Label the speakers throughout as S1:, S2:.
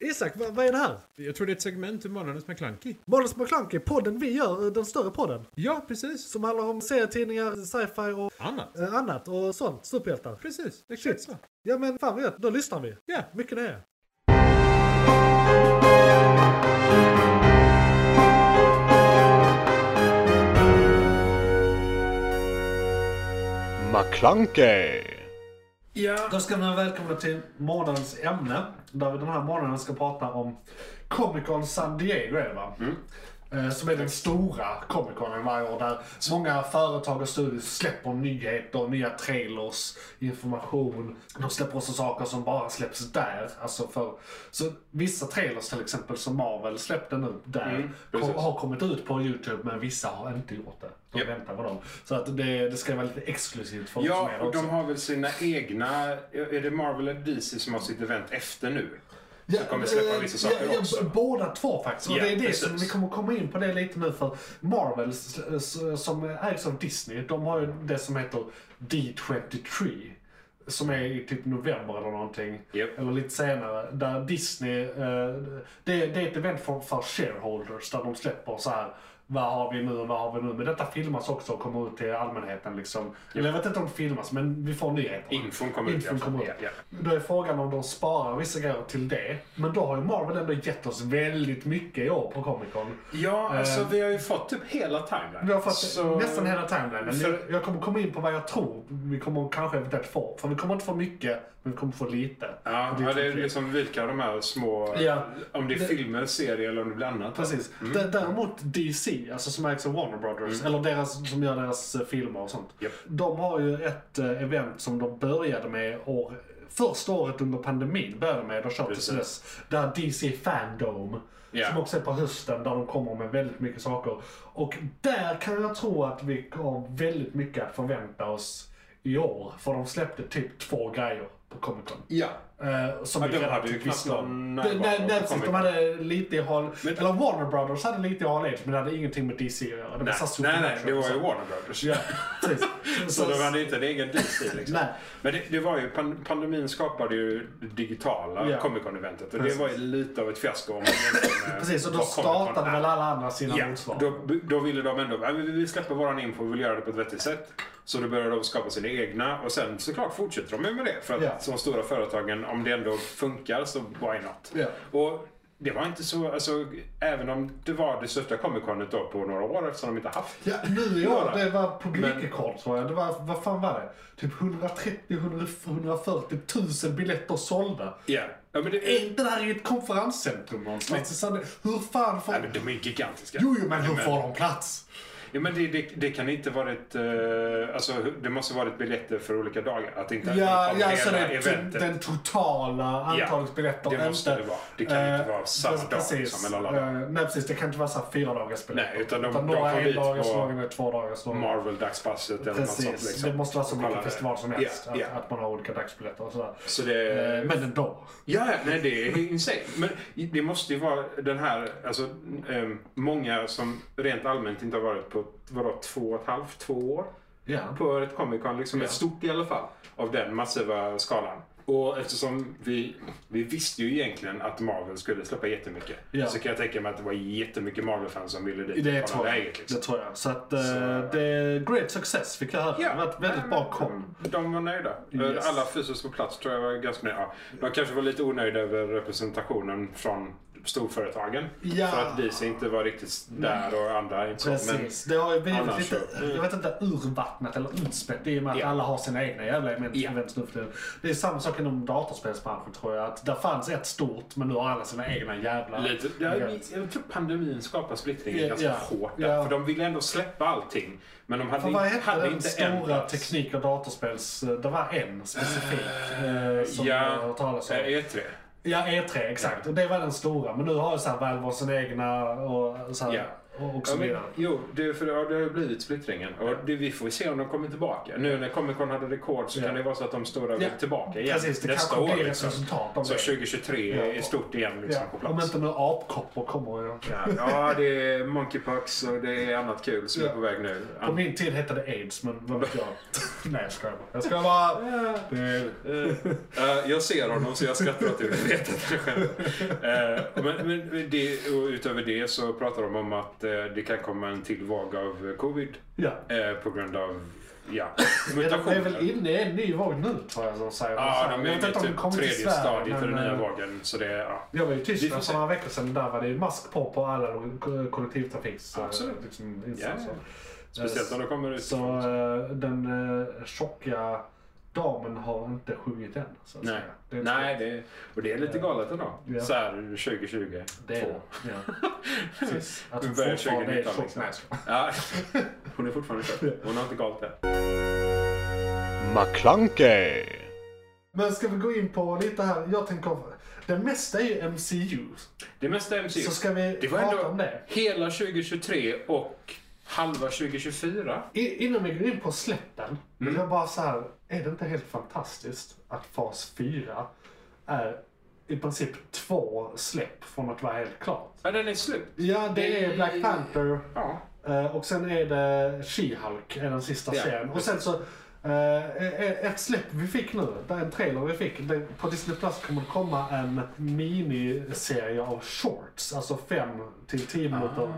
S1: Isak, vad, vad är det här?
S2: Jag tror det är ett segment ur Månadens McKlunky.
S1: Måns McClunky, podden vi gör, eh, den större podden.
S2: Ja, precis.
S1: Som handlar om serietidningar, sci-fi och
S2: Annat.
S1: eh, annat och sånt. Superhjältar.
S2: Precis, exakt så.
S1: Ja men fan vad gött, då lyssnar vi.
S2: Ja.
S1: Mycket nöje.
S3: McClunkey.
S1: Ja. Då ska ni vara välkomna till månadens ämne. Där vi den här månaden ska prata om Comic Con San Diego är det va?
S3: Mm.
S1: Eh, Som är den stora Comic Conen varje år där så många företag och studios släpper nyheter, nya trailers, information. De släpper också saker som bara släpps där. Alltså för, så vissa trailers till exempel som Marvel släppte nu där
S3: Mm,
S1: kom,
S3: precis.
S1: har kommit ut på YouTube men vissa har inte gjort det. De
S3: Japp.
S1: väntar på dem. Så att det, det ska vara lite exklusivt för de som är
S3: Ja,
S1: där
S3: och
S1: också.
S3: de har väl sina egna... Är det Marvel eller DC som har sitt event efter nu?
S1: Ja, eh,
S3: kommer släppa vissa saker
S1: ja, ja,
S3: också.
S1: b- Båda två faktiskt. Och
S3: Ja,
S1: det är det
S3: precis.
S1: som vi kommer komma in på det lite nu för Marvel s- s- som ägs av Disney, de har ju det som heter D23. Som är i typ november eller någonting.
S3: Japp.
S1: Eller lite senare. Där Disney, eh, det, det är ett event för, för shareholders där de släpper så här. Vad har vi nu och vad har vi nu? Men detta filmas också och kommer ut till allmänheten liksom. Eller jag vet inte om det filmas men vi får nyheter.
S3: Infon kommer ut i
S1: Infon
S3: alla fall.
S1: kommer ut.
S3: Ja,
S1: Då är frågan om de sparar vissa grejer till det. Men då har ju Marvel ändå gett oss väldigt mycket i år på Comic Con.
S3: Ja, alltså
S1: Eh.
S3: vi har ju fått typ hela timeline.
S1: Vi har fått
S3: Så-
S1: nästan hela timelinen.
S3: För-
S1: Jag kommer komma in på vad jag tror vi kommer kanske eventuellt få. För vi kommer inte få mycket, men vi kommer få lite.
S3: Ja,
S1: Och
S3: ja, det är
S1: typ-
S3: liksom vilka av de här små...
S1: Ja.
S3: Om det är
S1: Det-
S3: filmer, serier eller om det blir annat.
S1: Precis.
S3: Mm.
S1: D- Däremot DC, alltså som ägs av Warner Brothers, eller deras, som gör deras eh, filmer och sånt.
S3: Japp.
S1: De har ju ett eh, event som de började med år, första året under pandemin. Började med och kört till
S3: Precis.
S1: dess. Där DC Fandom.
S3: Ja.
S1: Som också är på hösten där de kommer med väldigt mycket saker. Och där kan jag tro att vi har väldigt mycket att förvänta oss i år. För de släppte typ två grejer på Comic Con.
S3: Ja.
S1: Eh, som
S3: Ja,
S1: vi
S3: de
S1: redan
S3: hade ju
S1: typ
S3: knappt
S1: visste om.
S3: någon
S1: Det-
S3: närvaro
S1: Nej,
S3: på
S1: nej precis.
S3: Comic
S1: De
S3: Con.
S1: hade lite i Hall...
S3: Men-
S1: Eller Warner Brothers hade lite i Hall Age, men det hade ingenting med DC att göra. Det var
S3: Nej,
S1: så här
S3: nej, nej, det var ju
S1: supernatural.
S3: Warner Brothers.
S1: Ja, precis.
S3: Så de hade inte en egen DC liksom.
S1: Nej.
S3: Men det, det var ju, pan, pandemin skapade ju det digitala
S1: Ja.
S3: Comic Con-eventet och
S1: Precis.
S3: det var ju lite av ett fiasko om man jämför med
S1: Precis, och då
S3: vad Comic Con
S1: startade
S3: är.
S1: väl alla andra sina
S3: Ja,
S1: motsvarande.
S3: då, då ville de ändå, "Ja, vi, vi släpper våran info och vill göra det på ett vettigt sätt. Så då började de skapa sina egna och sen såklart fortsätter de ju med det. För att
S1: Ja.
S3: som stora företagen, om det ändå funkar så why not?
S1: Ja.
S3: Och det var inte så, alltså även om det var det största Comic Conet då på några år eftersom de inte haft
S1: Ja, nu i år, det var
S3: Men-
S1: publikrekord tror jag. Det var, vad fan var det? Typ 130-140 000 biljetter sålda.
S3: Ja. Ja, men det,
S1: Är inte det här i ett konferenscentrum någonstans? i Sande- Hur fan får...
S3: ja, men de är gigantiska.
S1: Jo, jo, men hur får de plats?
S3: Ja, men det, det, det kan inte varit... eh, alltså, det måste varit biljetter för olika dagar. Att inte
S1: Ja,
S3: att
S1: ja
S3: hela
S1: så det är t-
S3: eventet.
S1: den totala antalet biljetter.
S3: det måste
S1: inte-
S3: det vara. Det kan inte
S1: Eh,
S3: vara samma
S1: pre-
S3: dag
S1: precis.
S3: som alla andra.
S1: Eh, nej, precis. Det kan inte vara så här fyra dagars biljetter.
S3: Nej, utan de- de
S1: några
S3: kom
S1: är
S3: dit
S1: dagars
S3: på-
S1: några är två dagars några.
S3: Marvel-dagspasset eller något
S1: Precis,
S3: sånt. Liksom.
S1: det måste vara så
S3: Och
S1: mycket
S3: kolla det.
S1: festival som
S3: Ja,
S1: helst.
S3: ja.
S1: Att, att man har olika dagsbiljetter och sådär.
S3: Så det...
S1: Eh, men ändå.
S3: Ja, ja, nej, det är insane. Men det måste ju vara den här, alltså ehm, många som rent allmänt inte har varit på, vadå, två och ett halvt, två år?
S1: Ja.
S3: På ett Comic Con, liksom
S1: Ja.
S3: ett stort i alla fall, av den massiva skalan. Och eftersom vi, vi visste ju egentligen att Marvel skulle släppa jättemycket.
S1: Ja.
S3: Så kan jag tänka mig att det var jättemycket Marvel-fans som ville dit.
S1: Det
S3: och kolla
S1: tror, jag.
S3: läget, liksom.
S1: det tror jag. Så att eh, det är great success fick jag höra. Det var ett väldigt
S3: nej,
S1: bra
S3: men
S1: kom.
S3: De var nöjda.
S1: Yes.
S3: Alla fysiskt på plats tror jag var ganska nöjda. Ja, De kanske var lite onöjda över representationen från storföretagen.
S1: Ja.
S3: För att DC inte var riktigt där och andra inte så. Men
S1: Precis. Det har ju blivit
S3: annars
S1: lite,
S3: så-
S1: jag vet inte, urvattnat eller utspätt i och med att
S3: Ja.
S1: alla har sina egna jävla event
S3: Ja.
S1: events nu för tiden. Det är samma sak inom datorspelsbranschen tror jag. Att där fanns ett stort men nu har alla sina egna jävla
S3: lite, jag, jag
S1: event.
S3: tror pandemin skapar splittringen
S1: Ja,
S3: ganska
S1: ja,
S3: hårt. Där,
S1: ja.
S3: För de ville ändå släppa allting. Men de hade,
S1: För vad
S3: inte-
S1: hette
S3: hade
S1: den
S3: inte en
S1: stora
S3: plats.
S1: teknik och datorspels... Det var en specifik eh, som jag har
S3: Ja, Eh,
S1: hört talas om. E
S3: E3.
S1: Ja, E3 exakt. Och det var den stora. Men nu har ju så här väl var sina egna och så här,
S3: Ja.
S1: och, och
S3: Ja,
S1: så
S3: men,
S1: vidare.
S3: jo, det, för det har det har ju blivit splittringen. Och det, vi får se om de kommer tillbaka. Nu när Comic Con hade rekord så
S1: Ja.
S3: kan det vara så att de stora
S1: Ja.
S3: vill tillbaka igen
S1: Precis, det
S3: nästa
S1: kanske
S3: år.
S1: blir ett
S3: Liksom.
S1: resultat av
S3: Så
S1: det.
S3: 2023
S1: Ja.
S3: är stort igen liksom, på
S1: Om
S3: plats.
S1: inte några apkoppor kommer. Ja.
S3: Ja, ja, det är monkeypox och det är annat kul som
S1: Ja.
S3: är på väg nu.
S1: På min tid hette det aids, men vad vet jag? Nej, jag skojar bara. Jag skojar bara. Det-
S3: Eh, jag ser honom så jag skrattar åt det. Jag vet att han själv. Eh, men, men men det, och utöver det så pratar de om att eh, det kan komma en till våg av eh, covid
S1: Ja.
S3: eh, på grund av ja,
S1: Det är väl
S3: mutationer.
S1: inne i en ny våg nu, tror jag de säger.
S3: Ja, de
S1: jag
S3: är
S1: vet
S3: i
S1: inte om de
S3: typ
S1: kommer till
S3: tredje
S1: Sverige,
S3: stadiet i den
S1: men,
S3: nya
S1: eh,
S3: vågen. Så det är, ja.
S1: Jag var ju i
S3: Vi får
S1: Tyskland
S3: se.
S1: för några veckor sedan. Där var det ju mask på på alla kollektivtrafiks... eh,
S3: Absolut.
S1: Liksom,
S3: Ja,
S1: insatser.
S3: ja. Speciellt när det kommer ut.
S1: eh, Så eh, den eh, tjocka damen har inte sjungit än. Så att
S3: Nej,
S1: säga. Det är inte- Eh,
S3: Nej det, och det är lite galet ändå.
S1: Ja.
S3: Så här 2020.
S1: Det är
S3: Två.
S1: det. Ja. Precis. Att
S3: Vi
S1: hon
S3: börjar
S1: fortfarande är
S3: 2019
S1: tjock.
S3: liksom.
S1: Nej, jag skojar.
S3: Ja. Hon är fortfarande tjock. Hon har inte galt än.
S4: McClunkey.
S1: Men ska vi gå in på lite här. Jag tänker, det mesta är ju MCU.
S3: Det mesta är MCU.
S1: Så ska vi
S3: Typ. Det var
S1: prata
S3: ändå
S1: om det.
S3: hela 2023 och halva 2024.
S1: I, innan vi går in på släppen. Vill
S3: Mm.
S1: jag bara så här. Är det inte helt fantastiskt att fas 4 är i princip två släpp från att vara helt klart?
S3: Ja, den är slut.
S1: Ja, det är Black Panther.
S3: Ja.
S1: Eh, och sen är det She-Hulk, är den sista
S3: Ja,
S1: serien. Och sen så, eh, ett släpp vi fick nu, det är en trailer vi fick. Det, på Disney Plus kommer det komma en miniserie av shorts. Alltså 5 till 10
S3: Ah.
S1: minuter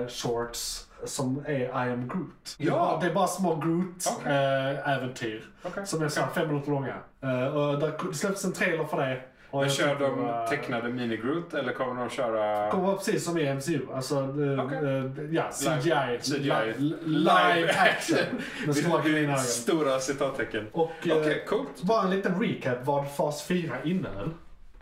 S1: eh, shorts. Som är I am Groot. Det är
S3: Ja.
S1: bara- Det är bara små
S3: Okej.
S1: Groot-äventyr.
S3: Okej,
S1: Som är såhär fem minuter långa. Eh, och där släpps en trailer för det. Och
S3: Men
S1: jag
S3: kör
S1: tycker
S3: de
S1: bara-
S3: tecknade mini-Groot eller kommer de köra...
S1: kommer vara precis som i MCU. Alltså, eh,
S3: Okej.
S1: eh, ja, CGI.
S3: CGI.
S1: Li- li- live action. Med stora gröna ögon.
S3: Stora citattecken.
S1: Och
S3: Okej,
S1: eh,
S3: coolt.
S1: bara en liten recap vad fas 4 innehöll.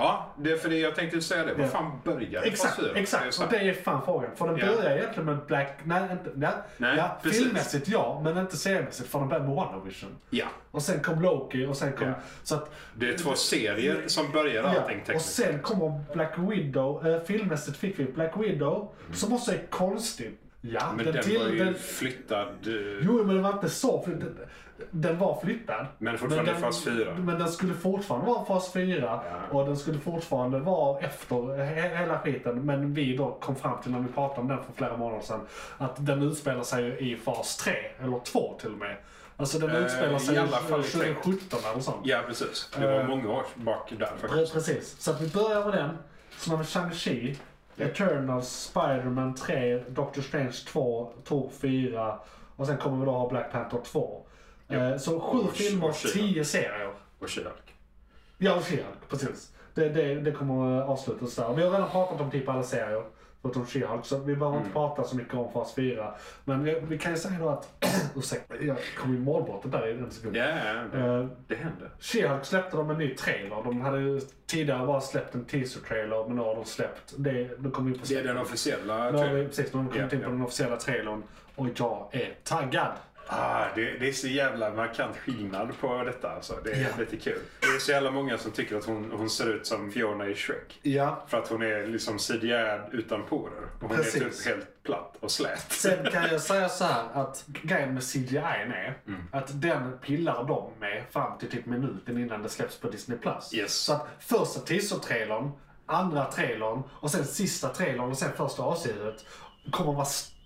S3: Ja, det är för det jag tänkte säga det. Vad
S1: Ja.
S3: fan började
S1: Exakt,
S3: fas fyra? Det är
S1: exakt.
S3: så
S1: Och
S3: här.
S1: det är fan frågan. För den
S3: Ja.
S1: börjar egentligen med Black... Nej, inte, nej,
S3: Nej,
S1: ja,
S3: precis.
S1: filmmässigt ja, men inte seriemässigt. För den börjar med WandaVision.
S3: Ja,
S1: Och sen kom Loki och sen kom...
S3: Ja.
S1: Så att,
S3: det är två serier som börjar allting
S1: Ja, och
S3: tekniskt.
S1: sen kommer Black Widow. Eh, filmmässigt fick vi Black Widow, som också är konstig. Ja,
S3: Mm. Men den var ju
S1: den-
S3: flyttad... eh,
S1: Jo, men den var inte så flyttad. Den var flyttad.
S3: Men fortfarande
S1: den,
S3: fas fyra.
S1: Men den skulle fortfarande vara fas 4.
S3: Ja.
S1: Och den skulle fortfarande vara efter he- hela skiten. Men vi då kom fram till när vi pratade om den för flera månader sedan. Att den utspelar sig ju i fas 3. Eller 2 till och med. Alltså den
S3: Eh,
S1: utspelar sig
S3: i alla fall i
S1: 2017 eller sånt.
S3: Ja, precis. Det var
S1: Eh,
S3: många år bak där
S1: Pre-
S3: faktiskt.
S1: Precis. Så att vi börjar med den. Sen har vi Shang-Chi, Eternals, Spider-Man 3, Doctor Strange 2, Thor 4 och sen kommer vi då ha Black Panther 2. Eh, Så sju
S3: Och-
S1: filmer,
S3: och She-Hulk.
S1: tio serier.
S3: Och She-Hulk.
S1: Ja, och She-Hulk, precis. Det, det, det kommer avslutas där. Vi har redan pratat om typ alla serier, förutom She-Hulk, så vi behöver
S3: Mm.
S1: inte prata så mycket om fas 4. Men vi, vi kan ju säga då att, ursäkta, jag kom i målbrottet där i en sekund.
S3: Ja, ja, ja.
S1: Eh,
S3: det hände.
S1: She-Hulk släppte de en ny trailer. De hade ju tidigare bara släppt en teaser-trailer, men nu har de släppt det. De kom in på
S3: Det är den officiella
S1: Nu har vi,
S3: trailern.
S1: precis, nu har de kommit
S3: Ja,
S1: in på
S3: ja.
S1: den officiella trailern och jag är taggad.
S3: Ah, det, det är så jävla markant skillnad på detta. Alltså. Det är
S1: Ja.
S3: lite kul. Det är så jävla många som tycker att hon, hon ser ut som Fiona i Shrek.
S1: Ja.
S3: För att hon är liksom cd utan porer. Och hon är
S1: Precis.
S3: typ helt platt och slät.
S1: Sen kan jag säga så här att grejen med CGI är att den pillar de med fram till typ minuten innan det släpps på Disney+. Plus.
S3: Yes.
S1: Så att första teaser-trailern, andra trailern och sen sista trailern och sen första avsnittet kommer vara st-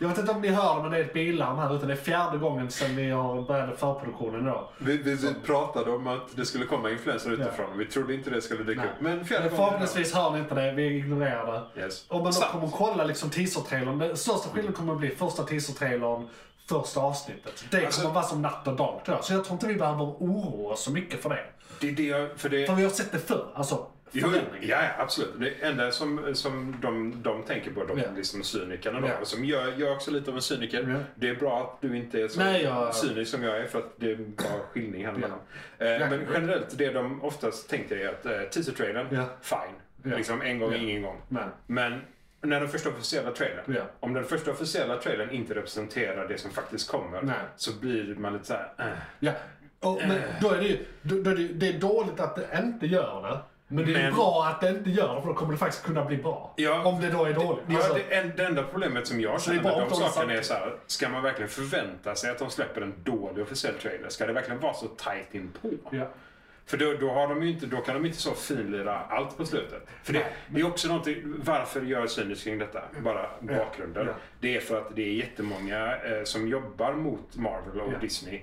S1: jag vet inte om ni hör det, men det är ett billarm här ute. Det är fjärde gången sedan vi har började förproduktionen då.
S3: Vi, vi, vi pratade om att det skulle komma influenser utifrån. Vi trodde inte det skulle dyka
S1: Nej.
S3: upp. Men fjärde
S1: Men
S3: gången. idag.
S1: förhoppningsvis hör ni inte det, vi ignorerar det.
S3: Yes.
S1: Om man då
S3: Sant.
S1: kommer att kolla liksom teaser-trailern, den största skillnaden kommer att bli första teaser-trailern, första avsnittet. Det
S3: Alltså-
S1: kommer att vara som natt och dag tror jag. Så jag tror inte vi behöver oroa oss så mycket för det.
S3: Det är det jag... För det,
S1: För vi har sett det förr, alltså
S3: Jo,
S1: förändringen.
S3: ja, ja, absolut. Det enda som, som de, de tänker på, de
S1: Ja.
S3: liksom cynikerna då,
S1: Ja.
S3: som jag, jag är också lite av en cyniker.
S1: Ja.
S3: Det är bra att du inte är så
S1: Nej, jag-
S3: cynisk som jag är för att det är en bra skillning här mellan.
S1: Ja.
S3: Eh, men generellt, det de oftast tänker är att eh, teaser-trailern,
S1: Ja.
S3: fine.
S1: Ja.
S3: Liksom en gång,
S1: Ja.
S3: ingen gång.
S1: Men,
S3: Men när den första officiella trailern,
S1: Ja.
S3: om den första officiella trailern inte representerar det som faktiskt kommer,
S1: Nej.
S3: så blir man lite såhär... Eh.
S1: ja. Och, men då är det ju, då, då är det, ju- det är dåligt att det inte gör det. Men det är
S3: Men-
S1: bra att det inte gör det, för då kommer det faktiskt kunna bli bra.
S3: Ja.
S1: Om det då är dåligt.
S3: Ja,
S1: Alltså,
S3: det, en, det enda problemet som jag
S1: det är
S3: känner
S1: bara
S3: med
S1: att
S3: de
S1: de har
S3: sakerna
S1: sagt-
S3: är så här. Ska man verkligen förvänta sig att de släpper en dålig officiell trailer? Ska det verkligen vara så tight in på?
S1: ja.
S3: För då, då, har de ju inte, då kan de inte så finlira allt på slutet. För det, det är också någonting, varför jag är cynisk kring detta, bara bakgrunden.
S1: Mm. Ja.
S3: Det är för att det är jättemånga eh, som jobbar mot Marvel och
S1: Ja.
S3: Disney,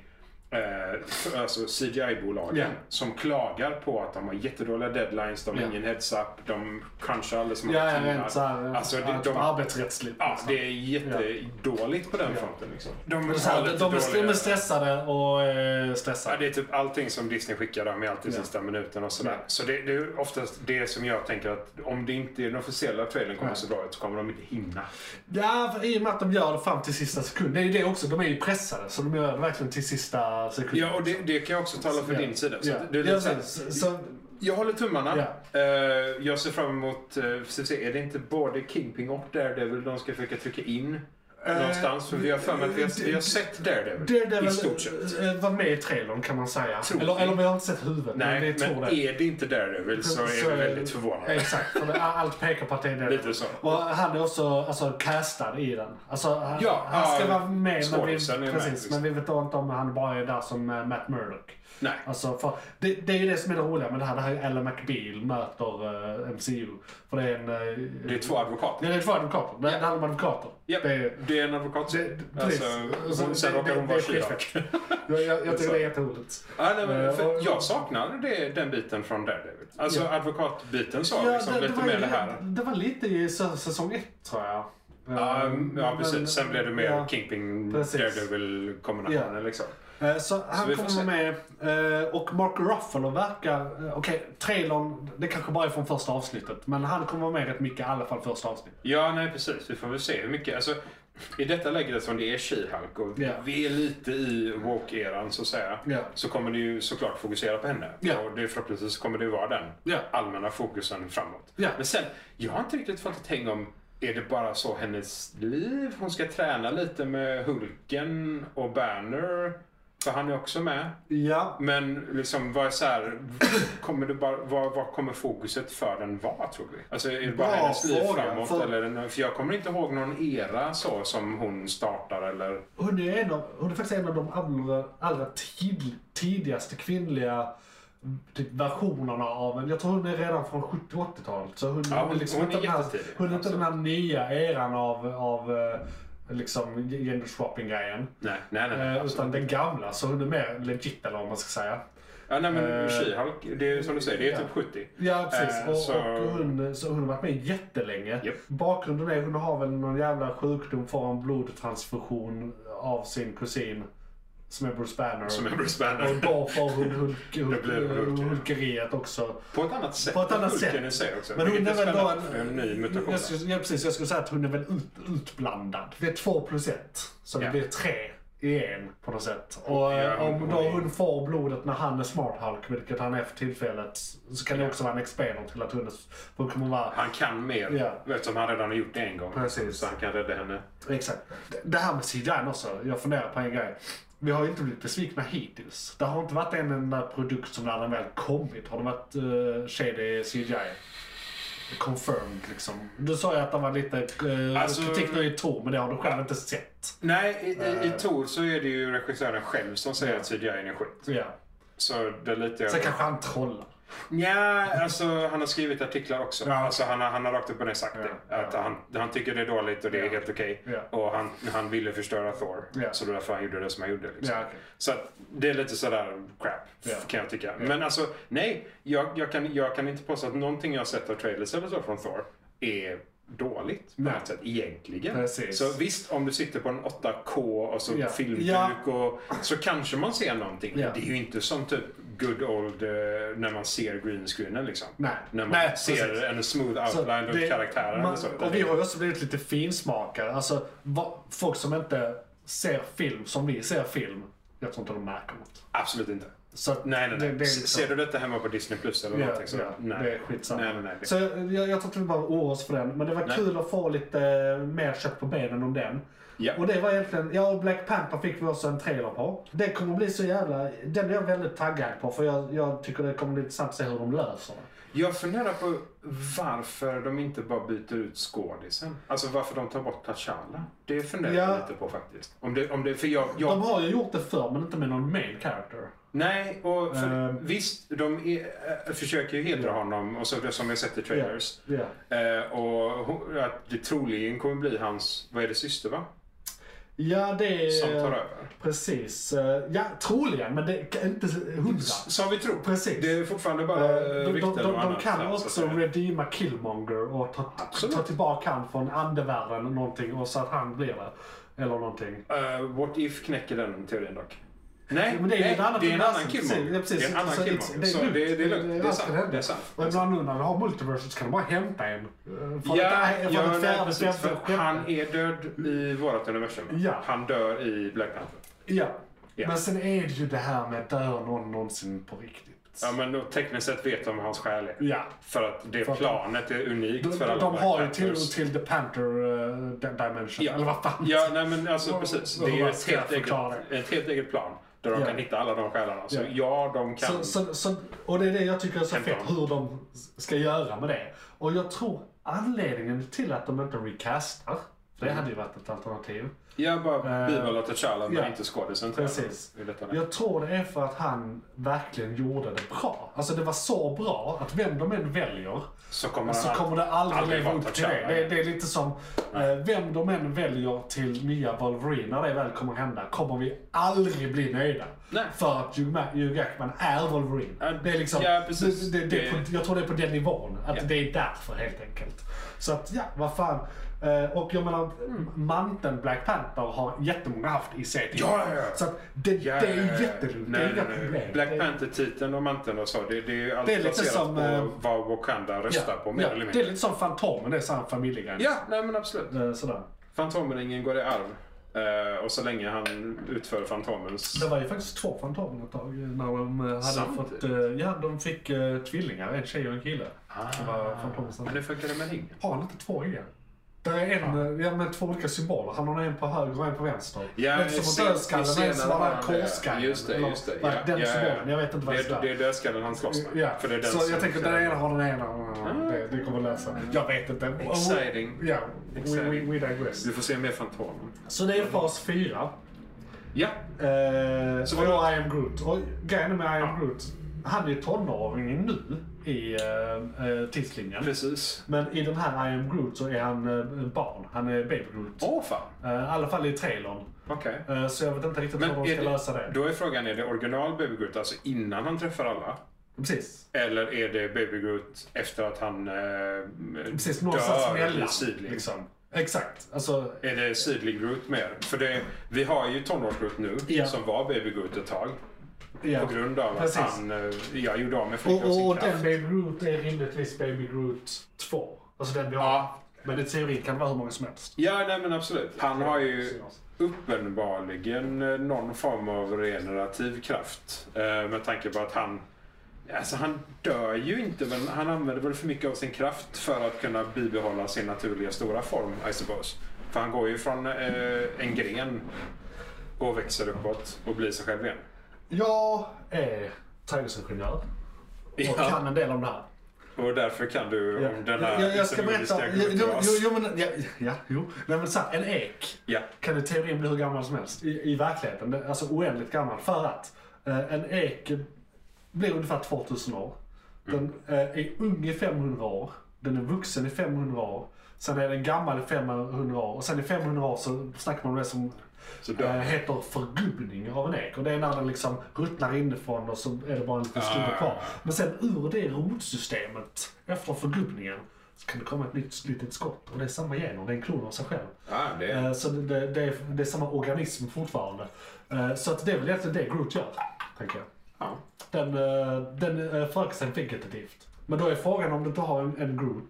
S3: eh, för, alltså CGI-bolagen,
S1: Ja.
S3: som klagar på att de har jättedåliga deadlines, de har
S1: Ja.
S3: ingen heads-up, de crunchar alldeles för
S1: Ja,
S3: många
S1: ja,
S3: timmar.
S1: rent såhär
S3: Alltså, det, de,
S1: arbetsrättsligt.
S3: ja,
S1: liksom.
S3: det är jättedåligt på den fronten. Liksom. De,
S1: Så här,
S3: har
S1: de,
S3: lite
S1: de, är, de är
S3: dåliga-
S1: stressade och eh,
S3: Ja,
S1: stressade.
S3: det är typ allting som Disney skickar dem är alltid
S1: Ja.
S3: sista minuten och sådär.
S1: Ja.
S3: Så det, det är oftast det som jag tänker att om det inte är den officiella trailern kommer
S1: Nej.
S3: så bra ut så kommer de inte hinna.
S1: Ja, för i och med att de gör det fram till sista sekund. Det är ju det också, de är ju pressade. Så de gör det verkligen till sista sekund.
S3: Ja, och det, det kan jag också tala för
S1: Ja.
S3: din sida. Så
S1: Ja.
S3: att det är lite
S1: Ja,
S3: så här-
S1: så, så,
S3: jag håller tummarna. Eh, jag ser fram emot, eh, så att säga, är det inte både Kingping och Daredevil de ska försöka trycka in?
S1: Eh,
S3: någonstans? För vi har för mig att vi har, vi har sett Daredevil,
S1: Daredevil
S3: i stort sett.
S1: eh, var med i trailern kan man säga.
S3: Tror
S1: eller,
S3: vi.
S1: eller vi har inte sett huvudet. men
S3: Nej,
S1: vi tror
S3: men
S1: det.
S3: är det inte Daredevil så är vi väldigt förvånade.
S1: Exakt, för det, allt pekar på att det är det.
S3: Lite så.
S1: Och han är också alltså, castad i den. Alltså, han,
S3: Ja,
S1: han ska
S3: ah,
S1: vara med, men vi, precis,
S3: skådisen är med, liksom.
S1: men vi vet då inte om han bara är där som eh, Matt Murdock.
S3: Nej.
S1: Alltså, för, det, det är ju det som är det roliga med det här. Det här är Ellen McBeal möter eh, MCU. För det är en... Uh,
S3: Det är två advokater.
S1: det är två advokater. Det, det handlar om advokater.
S3: Ja,
S1: Det är,
S3: det är en advokat.
S1: Det-
S3: alltså,
S1: precis.
S3: hon, sen
S1: Det-
S3: råkar
S1: det- det
S3: hon vara
S1: är skitfett.
S3: kyrak.
S1: jag, jag,
S3: är
S1: jag tycker
S3: så.
S1: det är jätteroligt.
S3: Ja, nej, men,
S1: Eh,
S3: för
S1: och-
S3: jag saknar det, den biten från Daredevil. Alltså
S1: Ja.
S3: advokatbiten sa liksom lite mer det här.
S1: det var lite i sä- säsong ett tror jag.
S3: Ja, mm,
S1: Eh,
S3: ja,
S1: men-
S3: precis. Sen blev det mer
S1: ja.
S3: Kingpin,
S1: Precis.
S3: Daredevil-kombinationen
S1: Ja.
S3: liksom.
S1: Eh, Så han
S3: vi får
S1: kommer vara med eh, och Mark Ruffalo verkar, eh, okej trailern, det kanske bara är från första avsnittet, men han kommer vara med rätt mycket i alla fall första avsnittet.
S3: Ja, nej precis. Vi får väl se hur mycket. Alltså, I detta läget som det är She-Hulk och
S1: Ja.
S3: vi är lite i woke-eran så att säga.
S1: Ja.
S3: Så kommer det ju såklart fokusera på henne.
S1: Ja.
S3: Och det, förhoppningsvis kommer det vara den
S1: Ja.
S3: allmänna fokusen framåt.
S1: Ja.
S3: Men sen, jag har inte riktigt fått ett häng om är det bara så hennes liv? Hon ska träna lite med Hulken och Banner. För han är också med.
S1: Ja.
S3: Men liksom, vad är så här, kommer det bara, vad, vad kommer fokuset för den vara tror vi? Alltså är det bara
S1: Bra
S3: hennes liv
S1: fråga,
S3: framåt?
S1: för-
S3: Eller, är det- för jag kommer inte ihåg någon era så som hon startar eller...
S1: Hon är, en av, hon är faktiskt en av de allra, allra tid, tidigaste kvinnliga mm, typ, versionerna av en. Jag tror hon är redan från 70-80-talet. Så hon, liksom
S3: Ja, hon- hon är
S1: inte den här,
S3: jättetidig,
S1: hon är inte
S3: absolut.
S1: den här nya eran av, av eh, liksom gender-swapping-grejen.
S3: Nej, nej, nej.
S1: Eh,
S3: nej
S1: utan
S3: absolut.
S1: den gamla, så hon är mer legit eller vad man ska säga.
S3: ja, nej men
S1: eh,
S3: She-Hulk, det är som du säger, det är
S1: ja.
S3: typ 70.
S1: Ja, precis.
S3: Eh,
S1: och,
S3: så-
S1: och hon, så hon har varit med jättelänge.
S3: Japp.
S1: Bakgrunden är hon har väl någon jävla sjukdom, får en blodtransfusion av sin kusin som är Bruce Banner.
S3: Som är Bruce
S1: och
S3: Banner.
S1: då får hon hulk, hulk,
S3: Det blir Hulken.
S1: hulkeriet också.
S3: På ett annat sätt
S1: På ett
S3: än
S1: annat
S3: Hulken
S1: sätt.
S3: i sig också.
S1: Men hon är
S3: vilket
S1: väl då
S3: spännande, för en... ny mutation.
S1: Jag skulle, ja, precis, jag skulle säga att hon är väl ut, utblandad. Det är två plus ett. Så
S3: Ja.
S1: det blir tre i en på något sätt. Och
S3: Ja,
S1: eh, om
S3: hon-
S1: då
S3: hon är-
S1: hon får blodet när han är smart Hulk, vilket han är för tillfället, så kan det också vara en experiment till att hon, är, hon kommer vara...
S3: Han kan mer,
S1: Ja.
S3: eftersom han redan har gjort det en gång.
S1: Precis.
S3: Så han kan rädda henne.
S1: Exakt. Det- Det här med CGI också, jag funderar på en grej. Vi har ju inte blivit besvikna hittills. Det har inte varit en enda produkt som när den väl kommit har det varit uh, shady CGI. Confirmed liksom. Du sa ju att det var lite eh,
S3: Alltså-
S1: kritik nu i Tor, men det har du själv inte sett.
S3: Nej, i, i, i Tor så är det ju regissören själv som säger att CGI är skit.
S1: Eh. Ja.
S3: Så det är lite...
S1: Sen kanske han trollar.
S3: Nja, alltså han har skrivit artiklar också.
S1: Ja.
S3: Alltså, han, har, han har rakt upp och ner sagt det.
S1: Ja,
S3: Att
S1: ja.
S3: han, han tycker det är dåligt och det är
S1: Ja.
S3: helt okej.
S1: Ja.
S3: Och han, han ville förstöra Thor.
S1: Ja.
S3: Så det var därför han gjorde det som han gjorde. Liksom.
S1: Ja, okej.
S3: Så att, det är lite sådär crap,
S1: Ja.
S3: kan jag tycka. Men alltså, nej. Jag, jag, kan, jag kan inte påstå att någonting jag har sett av trailers eller så från Thor är dåligt på
S1: Nej.
S3: något sätt egentligen.
S1: Precis.
S3: Så visst, om du sitter på en 8K och så
S1: Ja.
S3: filmduk
S1: Ja.
S3: och så kanske man ser någonting.
S1: Ja.
S3: Det är ju inte som typ good old eh, när man ser greenscreenen liksom.
S1: Nej.
S3: När man
S1: Nej,
S3: ser
S1: precis.
S3: en smooth
S1: Så
S3: outline
S1: det-
S3: runt karaktären. liksom.
S1: man-
S3: och så.
S1: och vi har ju också blivit lite finsmakare. Alltså, va, folk som inte ser film som vi ser film, jag tror inte de märker något.
S3: Absolut inte.
S1: Så att
S3: Nej, nej, nej.
S1: det- det är liksom-
S3: Ser du detta hemma på Disney Plus eller
S1: Ja,
S3: någonting så?
S1: ja,
S3: nej.
S1: det är skitsamma.
S3: Nej, nej, nej.
S1: Så jag, jag tror inte vi behöver oroa oss för den. Men det var
S3: Nej.
S1: kul att få lite eh, mer kött på benen om den.
S3: Ja.
S1: Och det var egentligen, ja och Black Panther fick vi också en trailer på. Det kommer bli så jävla, den är jag väldigt taggad på för jag, jag tycker det kommer bli intressant att se hur de löser det.
S3: Jag funderar på varför de inte bara byter ut skådisen. Alltså varför de tar bort T'Challa. Det funderar jag
S1: Ja.
S3: lite på faktiskt. Om det, om det, för jag, jag,
S1: De har ju gjort det förr, men inte med någon main character.
S3: Nej, och för,
S1: Ehm.
S3: visst, de är, äh, försöker ju hedra honom och så, det som jag sett i trailers.
S1: Ja.
S3: Eh, och hon, att det troligen kommer bli hans, vad är det, syster va?
S1: Ja, det
S3: Som tar
S1: är...
S3: över.
S1: Precis. Eh, Ja, troligen, men det är inte hundra.
S3: S- Som vi tror.
S1: Precis.
S3: Det är fortfarande bara
S1: Eh,
S3: eh,
S1: De, de,
S3: rykten
S1: de,
S3: och
S1: de
S3: annat,
S1: kan
S3: så att
S1: också
S3: säga.
S1: redeema Killmonger och ta,
S3: Absolut.
S1: ta tillbaka han från andevärlden och någonting och så att han blir det. Eller någonting.
S3: Eh, what if knäcker den teorin dock? Nej,
S1: Ja, men det är ju
S3: nej,
S1: ett annat
S3: det är en
S1: universum.
S3: annan
S1: Precis,
S3: killmong.
S1: ja, precis.
S3: Det är en annan
S1: Så
S3: killmong.
S1: it's-
S3: Så
S1: det är lugnt.
S3: det, det är
S1: Det-
S3: lugnt.
S1: det är
S3: Det är
S1: allt
S3: sant.
S1: som händer.
S3: Det är sant.
S1: Och ibland nu när du har multiversus kan de bara hämta en. eh, Från
S3: Ja,
S1: ett, från
S3: ja,
S1: ett
S3: nej,
S1: fjärde,
S3: precis,
S1: femte,
S3: för
S1: sjätte.
S3: han är död i vårat universum.
S1: Ja.
S3: Han dör i Black Panther.
S1: Ja.
S3: Ja.
S1: Men sen är det ju det här med dör någon någonsin på riktigt.
S3: Ja, men då, tekniskt sett vet de vad hans själ är.
S1: Ja.
S3: För att det
S1: För att de-
S3: planet är unikt
S1: De,
S3: för alla
S1: de
S3: Black
S1: har ju
S3: Panthers.
S1: till, till The Panther eh, Dimension,
S3: Ja.
S1: eller vad fan.
S3: Ja, nej men alltså
S1: Vad-
S3: precis. Det
S1: vad-
S3: är
S1: vad
S3: ett
S1: ska jag
S3: helt, eget,
S1: förklara?
S3: ett helt eget plan. Där de
S1: Ja.
S3: kan hitta alla de själarna. Så
S1: Ja.
S3: ja, de kan.
S1: Så, så, så, och det är det jag tycker är så
S3: Kan
S1: fett,
S3: ta.
S1: hur de ska göra med det. Och jag tror anledningen till att de inte recastar, för
S3: Mm.
S1: det hade ju varit ett alternativ.
S3: jag bara
S1: Eh,
S3: bibehåller T'Challa men
S1: ja.
S3: inte skådisen.
S1: Precis.
S3: I detta
S1: Jag tror det är för att han verkligen gjorde det bra. Alltså det var så bra att vem de än väljer
S3: så kommer
S1: så
S3: han
S1: kommer det aldrig
S3: aldrig
S1: leva
S3: vara
S1: upp till det.
S3: T'Challa.
S1: det. Det är lite som eh, vem de än väljer till nya Wolverine, när det väl kommer hända, kommer vi aldrig bli nöjda.
S3: Nej.
S1: För att Hugh Ma- Hugh Jackman är Wolverine.
S3: Ja,
S1: Det är liksom,
S3: ja, precis.
S1: Det, det, det, är på,
S3: Det-
S1: jag tror det är på den nivån. Att
S3: Ja.
S1: det är därför helt enkelt. Så att ja, vad fan. Eh, och jag menar, manteln Black Panther har jättemånga haft i serien.
S3: Mm. Ja, ja, ja.
S1: Så att det,
S3: Ja,
S1: det är ju jättelugnt. Det är
S3: nej,
S1: inga
S3: nej, nej.
S1: problem.
S3: Black
S1: Det-
S3: Panther-titeln och manteln och så. Det, det är ju
S1: Det är
S3: alltid
S1: lite
S3: baserat
S1: som, eh,
S3: på vad Wakanda röstar på mer
S1: ja,
S3: eller
S1: Det är
S3: mindre.
S1: lite som Fantomen, det är samma familjegrej.
S3: Ja, nej men absolut.
S1: Eh, Sådär.
S3: Fantomringen går i arv. Eh, och så länge han utför Fantomens...
S1: Det var ju faktiskt två Fantomen ett tag eh, när de eh, hade
S3: Samtidigt?
S1: fått... eh, Ja, de fick eh, tvillingar, en tjej och en kille. Det var Fantomen
S3: Men
S1: samtidigt.
S3: det funkade med ringen.
S1: Har han inte två igen? Det är en, eh, ja. med två olika symboler. Han har en på höger och en på vänster.
S3: Ja,
S1: en som
S3: sen-
S1: har dödskallen och en som
S3: senare
S1: har
S3: var
S1: den
S3: han det.
S1: korskallen.
S3: Just det,
S1: Eller
S3: just det.
S1: vad-
S3: Ja,
S1: Den
S3: ja, ja.
S1: symbolen, jag vet inte vad det
S3: Det, det
S1: står.
S3: är dödskallen han slåss med.
S1: Ja,
S3: För det är den
S1: så
S3: som Ah.
S1: jag tänker att den ena har den ena. eh, Det, det kommer lösa Jag vet inte.
S3: Exciting.
S1: Ja, we, we,
S3: Exciting.
S1: we digress.
S3: Du får se mer Fantomen.
S1: Så det är fas fyra.
S3: Ja.
S1: Eh,
S3: Så
S1: så
S3: var
S1: var
S3: det-
S1: I am Groot. Och grejen med I am Groot, han är ju tonåring nu i eh, eh, tidslinjen.
S3: Precis.
S1: Men i den här I am Groot så är han eh, barn. Han är baby Groot.
S3: Åh fan.
S1: Eh, I alla fall i trailern.
S3: Okej.
S1: Eh, så jag vet inte riktigt hur de ska lösa det.
S3: då är frågan, är det original Baby Groot, alltså innan han träffar alla?
S1: Precis.
S3: Eller är det Baby Groot efter att han eh,
S1: Precis, någonstans
S3: dör i
S1: mellan.
S3: Sidling?
S1: Liksom. Exakt. Alltså,
S3: Är det Sidling Groot mer? För det, vi har ju tonårs-Groot nu,
S1: Ja.
S3: som var Baby Groot ett tag.
S1: ja.
S3: På grund av
S1: Precis.
S3: att han eh, ja, gjorde av med
S1: Och,
S3: flickan och
S1: och,
S3: sin
S1: och den
S3: kraft.
S1: Baby Groot är rimligtvis Baby Groot 2. Alltså den vi har.
S3: Ja.
S1: Men i teorin kan det vara hur många som helst.
S3: Ja, nej men absolut. Han har ju uppenbarligen eh, någon form av regenerativ kraft. Eh, med tanke på att han... Alltså han dör ju inte, men han använder väl för mycket av sin kraft för att kunna bibehålla sin naturliga stora form, I suppose. För han går ju från eh, en gren och växer uppåt och blir sig själv igen.
S1: Jag är trädgårdsingenjör och
S3: Ja,
S1: kan en del om det här.
S3: och därför kan du om den här
S1: jag, jag ska
S3: internordiska
S1: berätta. Jo, jo,
S3: gurkras.
S1: jo, men, ja, ja, jo. Nej, men så här, en ek
S3: Ja,
S1: kan i teorin bli hur gammal som helst. I, i verkligheten. Det- Alltså oändligt gammal. För att eh, en ek blir ungefär 2000 år. Den eh, är ung i 500 år. Den är vuxen i 500 år. Sen är den gammal i 500 år. Och sen i 500 år så snackar man om det som
S3: så
S1: eh,
S3: dör
S1: heter förgubbning av en ek. Och det är när den liksom ruttnar inifrån och så är det bara en liten stubbe
S3: Ah.
S1: kvar. Men sen ur det rotsystemet efter förgubbningen så kan det komma ett nytt litet skott. Och det är samma gener, det är en klon av sig själv.
S3: Ja, det är...
S1: Eh, Så det, det, det, är, det är samma organism fortfarande. Eh, Så att det är väl egentligen det Groot gör, tänker jag.
S3: Ja.
S1: Den, eh, den eh, förökar sig vegetativt. Men då är frågan om du inte har en, en Groot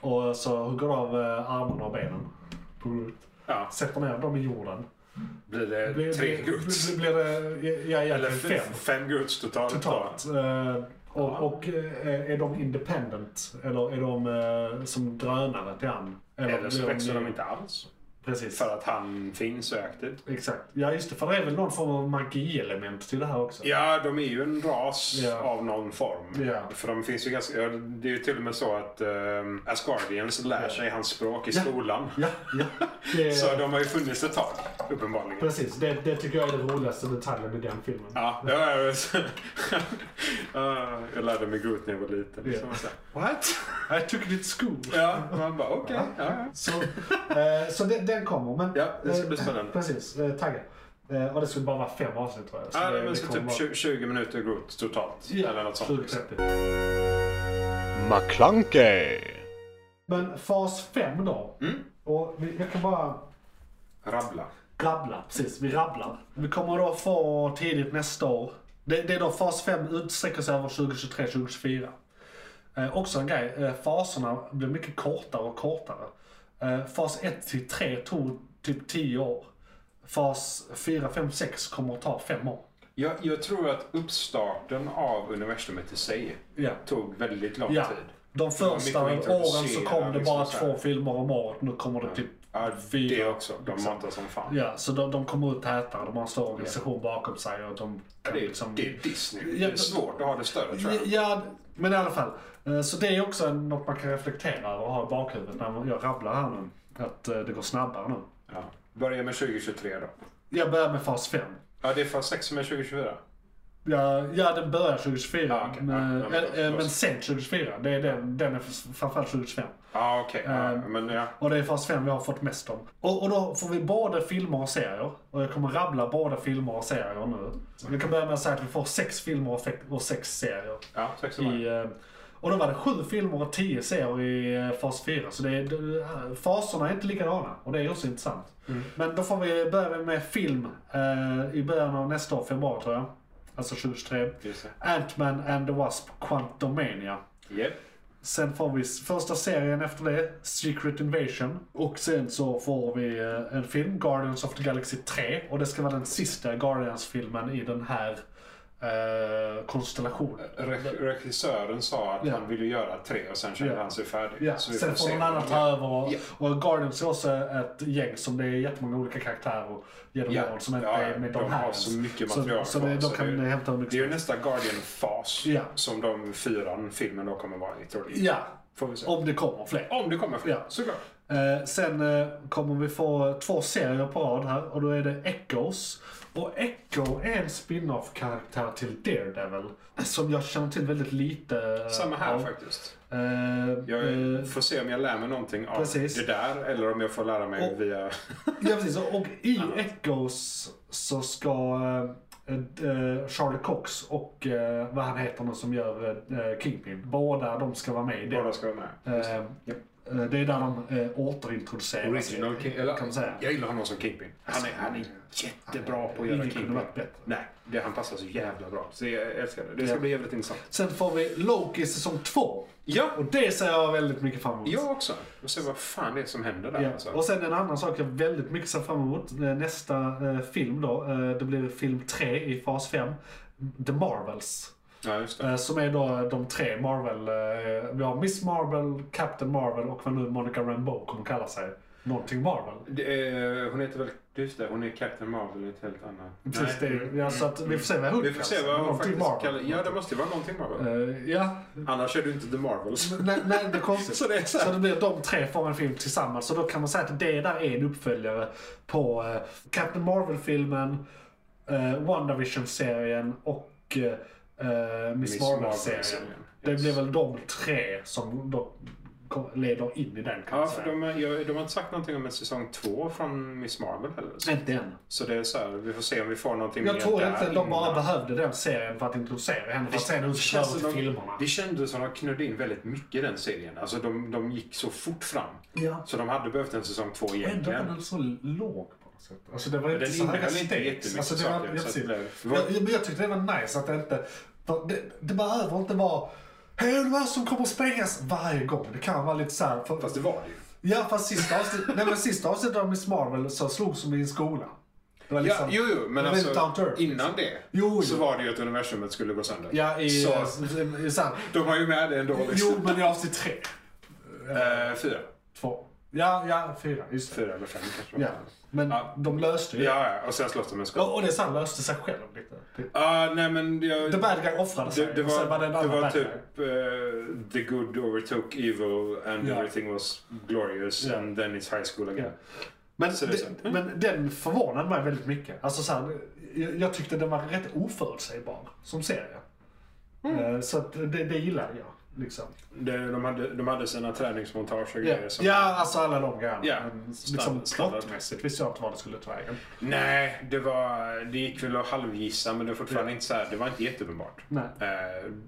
S1: och så hugger du av eh, armarna och benen på Groot.
S3: ja,
S1: Sätter ner dem i jorden.
S3: blir det
S1: Blir-
S3: tre
S1: blir-
S3: Groots?
S1: Blir, blir det, ja, ja,
S3: Eller
S1: Eller
S3: fem,
S1: fem
S3: fem Groots totalt.
S1: totalt. Eh, Och, och eh, är de independent? Eller är de eh, som drönare till han?
S3: Eller så
S1: blir
S3: växer de inte alls.
S1: Precis.
S3: För att han finns och är aktiv.
S1: Exakt. Ja, just det. För det är väl någon form av magielement till det här också?
S3: Ja, de är ju en ras
S1: Ja.
S3: av någon form.
S1: Ja.
S3: För de finns ju ganska... ja, Det är ju till och med så att um, Asgardians lär
S1: Ja.
S3: sig hans språk i
S1: Ja.
S3: skolan.
S1: Ja, ja. Det,
S3: Så de har ju funnits ett tag, uppenbarligen.
S1: Precis. Det, det tycker jag är den roligaste detaljen i den filmen.
S3: Ja, det var jag. Ja, jag lärde mig Groot när jag var liten.
S1: Ja.
S3: Så man säger, What?
S1: I took it at school.
S3: Ja, man bara okej. ja, ja.
S1: Så, eh, så den, den kommer. Men,
S3: Ja, det ska bli spännande.
S1: Eh, precis. Eh, taggad. Eh, och det skulle bara vara fem avsnitt tror jag. Så
S3: Ja,
S1: det-
S3: det, men
S1: det
S3: så
S1: kommer
S3: typ
S1: vara-
S3: 20, 20 minuter Groot totalt.
S1: Ja,
S3: eller något sånt. liksom.
S1: 20-30.
S4: McClunkey,
S1: Men fas 5 då.
S3: Mm.
S1: Och vi, jag kan bara
S3: Rabbla.
S1: rabbla. Precis, vi rabblar. Vi kommer då få tidigt nästa år. Det, det är då fas 5 utsträcker sig över 2023-2024. Eh, också en grej, eh, faserna blir mycket kortare och kortare. Eh, fas 1 till 3 tog typ 10 år. Fas 4, 5, 6 kommer att ta 5 år.
S3: Jag, jag tror att uppstarten av universumet i sig
S1: Ja.
S3: tog väldigt lång
S1: Ja.
S3: tid.
S1: De
S3: var mycket
S1: första
S3: att
S1: åren så
S3: introducera,
S1: kom det
S3: liksom
S1: bara
S3: så här.
S1: två filmer om året. Nu kommer det typ
S3: Ja,
S1: fyra. liksom.
S3: det också. De matar som fan.
S1: Ja, så de, de kommer ut tätare, de har en stor organisation bakom sig och de kan
S3: Det, är,
S1: liksom...
S3: det är Disney.
S1: Ja,
S3: Det är svårt att ha det större tror jag.
S1: Ja, men i alla fall. Eh, Så det är också en- något man kan reflektera över och ha i bakhuvudet när man- jag rabblar här nu. Att eh, det går snabbare nu.
S3: Ja. Börja med 2023 då.
S1: Jag börjar med fas 5.
S3: Ja, det är fas 6 som är 2024.
S1: Ja, ja den börjar 2024.
S3: Ja, okej.
S1: men,
S3: Ja, ja, men då-
S1: eh, eh,
S3: då-
S1: men sen 2024. Det är den, den är framförallt 2025.
S3: Ja, okej. Ja,
S1: Ehm.
S3: men ja.
S1: Och det är fas 5 vi har fått mest om. Och, och då får vi både filmer och serier. Och jag kommer rabbla både filmer och serier nu. Vi kan börja med att säga att vi får sex filmer och, fe- och sex serier.
S3: Ja, 6
S1: I, eh, och då var det sju filmer och tio serier i eh, fas 4. Så det är, det- faserna är inte likadana. Och det är också intressant. Men då får vi börja med film eh, i början av nästa år, februari tror jag. Alltså 2023.
S3: Just det.
S1: Ant-Man and the Wasp, Quantumania.
S3: Yep.
S1: Sen får vi första serien efter det, Secret Invasion. Och sen så får vi eh, en film, Guardians of the Galaxy 3. Och det ska vara den sista Guardians-filmen i den här eh, konstellationen.
S3: Re- regissören sa att
S1: Ja.
S3: han ville göra tre och sen kände
S1: Ja.
S3: han sig färdig.
S1: Ja,
S3: Så vi
S1: sen får
S3: se
S1: någon
S3: vad
S1: annan
S3: de
S1: ta
S3: gör.
S1: över. Och,
S3: Ja.
S1: och Guardians är också ett gäng som det är jättemånga olika karaktärer genom
S3: Ja.
S1: åren som inte
S3: Ja,
S1: är med de,
S3: de
S1: här.
S3: har
S1: ens.
S3: så mycket material
S1: Så, så
S3: kvar,
S1: det, de
S3: så
S1: kan
S3: det är-
S1: hämta hur
S3: Det är
S1: mycket
S3: ju nästa Guardian-fas
S1: Ja.
S3: som de fyran filmen då kommer vara i troligen.
S1: Ja,
S3: Får vi se.
S1: om det kommer fler.
S3: Om det kommer fler,
S1: Ja.
S3: såklart.
S1: Eh, sen eh, kommer vi få eh, två serier på rad här och då är det Echoes. Och Echo är en spin-off-karaktär till Daredevil. Som jag känner till väldigt lite eh,
S3: Samma här
S1: av.
S3: faktiskt.
S1: Eh,
S3: Jag
S1: eh,
S3: får se om jag lär mig någonting av
S1: Precis.
S3: det där eller om jag får lära mig
S1: Och-
S3: via...
S1: Ja precis, och i Echoes så ska eh, eh, Charlie Cox och eh, vad han heter nu som gör eh, Kingpin, båda de ska vara med i det.
S3: Båda ska vara med.
S1: Eh, eh, det är där de eh, återintroduceras.
S3: Original King, eller,
S1: kan man säga. Alltså,
S3: Jag gillar honom som Kingpin. Han är, han är jättebra på att göra
S1: Ingen kunde
S3: Kingpin.
S1: varit bättre.
S3: Nej, det, han passar så jävla bra. Så jag älskar det. Det ska
S1: Ja.
S3: bli jävligt intressant.
S1: Sen får vi Loki säsong två.
S3: Ja,
S1: Och det ser jag väldigt mycket fram emot.
S3: Jag också. Och se vad fan det är som händer där.
S1: Ja.
S3: Alltså.
S1: Och sen en annan sak jag väldigt mycket ser fram emot. eh, Nästa eh, film då. Eh, det blir film tre i fas fem The Marvels.
S3: Ja, just det.
S1: Eh, Som är då de tre Marvel. eh, Vi har Miss Marvel, Captain Marvel och vad nu Monica Rambeau kommer kalla sig. Någonting Marvel.
S3: det är, hon heter väl... Just det, hon är Captain Marvel i ett helt annat...
S1: Precis,
S3: Nej.
S1: det, ja, så att vi får se vad hon
S3: Vi får se vad hon
S1: Någonting
S3: faktiskt kallar...
S1: Marvel.
S3: Ja, det måste ju vara någonting Marvel.
S1: Eh, Mm. ja.
S3: Annars är du inte The Marvels.
S1: Nej, nej, det är konstigt.
S3: Så det är så här.
S1: Så det blir de tre får en film tillsammans. Så då kan man säga att det där är en uppföljare på eh, Captain Marvel-filmen, eh, WandaVision-serien och eh, eh, Miss,
S3: Miss
S1: Marvel-serien.
S3: Marvel-serien,
S1: det
S3: yes.
S1: blir väl de tre som då kom- leder in i den kan
S3: Ja,
S1: man
S3: för
S1: säga.
S3: de, är- jag- de har inte sagt någonting om en säsong två från Miss Marvel heller. Så,
S1: Inte än.
S3: så det är så här, vi får se om vi får någonting
S1: Jag
S3: mer
S1: tror
S3: där
S1: egentligen de bara
S3: innan.
S1: behövde den serien för att introducera henne. För att sen hon skulle
S3: känns
S1: till
S3: som de-
S1: filmerna.
S3: Det kändes som att de knödde in väldigt mycket i den serien. Alltså de, de gick så fort fram.
S1: Ja.
S3: Så de hade behövt en säsong två
S1: Ändå var
S3: egentligen.
S1: den så låg på något sätt. Alltså det var
S3: Men
S1: inte
S3: den
S1: så höga
S3: innehöll inte
S1: stakes.
S3: jättemycket
S1: Alltså det var,
S3: saker,
S1: ja,
S3: så att
S1: precis.
S3: det-
S1: Jag, jag, men jag tyckte det var nice att det inte... för Det, det behöver inte vara Hej universum kommer att sprängas varje gång. Det kan vara lite såhär...
S3: Fast det var det ju.
S1: Ja fast sista avsnittet, nej men sista avsnittet av Miss Marvel så slogs de i en skola. Det var liksom...
S3: ja, jo, jo, men
S1: det var
S3: alltså,
S1: lite down to earth,
S3: innan det
S1: Jo, jo.
S3: så var det ju att universumet skulle gå sönder.
S1: Ja i...
S3: så,
S1: Så. I, så här,
S3: de har ju med det ändå.
S1: jo
S3: Liksom.
S1: men i avsnitt tre.
S3: Eh, fyra.
S1: Två. Ja, ja, fyra. Just det.
S3: Fyra eller fem kanske. det var.
S1: Ja. Men
S3: Ja.
S1: de löste ju det.
S3: ja, ja. Och sen slåss de med en skott.
S1: Och, och det sen löste sig själv lite. Typ.
S3: Ja, nej men... Jag,
S1: The bad guy offrade sig.
S3: det, det
S1: och sen
S3: var,
S1: var det
S3: det
S1: en annan
S3: var
S1: bad guy.
S3: typ eh, the good overtook evil and
S1: Ja.
S3: everything was glorious
S1: Ja.
S3: and then it's high school again.
S1: Ja. Men,
S3: Så det är
S1: det,
S3: sant.
S1: men den förvånade mig väldigt mycket. Alltså så här, jag, jag tyckte den var rätt oförutsägbar som serie. Eh, Så att det, det gillar jag. Liksom.
S3: De, de, hade, de hade sina träningsmontage
S1: Ja,
S3: och grejer. Som,
S1: ja, alltså alla de grejerna.
S3: Ja.
S1: Men Liksom
S3: Standard- standard.
S1: plottmässigt visste jag inte vad det skulle ta vägen.
S3: Nej, det, var, det gick väl att halvgissa men det var fortfarande inte så här, det var inte jätteuppenbart.
S1: Nej.
S3: Eh,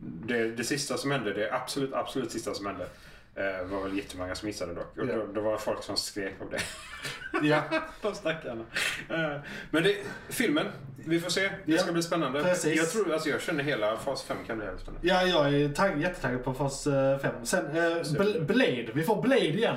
S3: det, det sista som hände, det absolut, absolut sista som hände eh, var väl jättemånga som missade dock. Och
S1: Ja.
S3: då, då var folk som skrek om det.
S1: Ja,
S3: De stackarna. Eh, Men det, filmen, vi får se. Det
S1: Ja,
S3: ska bli spännande.
S1: precis.
S3: Jag tror, alltså jag känner hela fas 5 kan bli jävligt spännande.
S1: ja jag är tag- jättetaggad på fas 5. Sen eh, Bl- Blade, vi får Blade igen.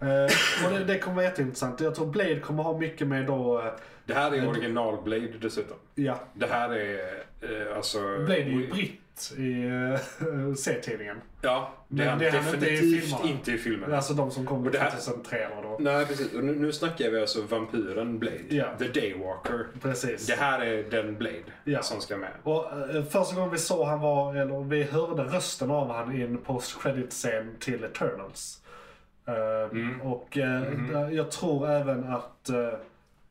S1: Eh, och det, det kommer vara jätteintressant. Jag tror Blade kommer ha mycket med då, eh,
S3: Det här är original Blade dessutom.
S1: ja,
S3: Det här är eh, alltså...
S1: Blade är ju britt i eh, C-tidningen.
S3: Ja, det
S1: Men
S3: är han
S1: det är han inte i
S3: definitivt
S1: filmerna.
S3: inte i filmen.
S1: Alltså de som kom
S3: Och det här-
S1: 2003 eller vad det var.
S3: Nej, precis. Och nu, nu snackar vi alltså vampyren Blade.
S1: Ja.
S3: The Daywalker.
S1: Precis.
S3: Det här är den Blade
S1: Ja.
S3: som ska med.
S1: Och eh, första gången vi såg han var, eller vi hörde rösten av han i en post-credit-scen till Eternals. Eh,
S3: Mm.
S1: Och eh, där- jag tror även att, eh,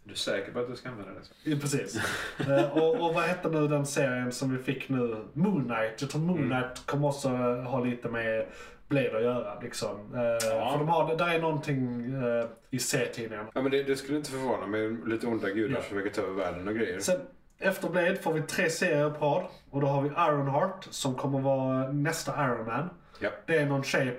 S3: Du är säker på att du ska använda den? så?
S1: ja, precis. Eh, och, och vad hette nu den serien som vi fick nu? Moon Knight. Jag tror Moon Knight kommer också eh, ha lite med Blade att göra. Liksom. Eh, För de har, där är någonting eh, i C-tidningen.
S3: Ja, men det, det skulle inte förvåna mig. Lite onda gudar
S1: Ja.
S3: som försöker ta över världen och grejer.
S1: Sen efter Blade får vi tre serier på rad. Och då har vi Ironheart som kommer vara nästa Iron Man.
S3: Ja.
S1: Det är någon tjej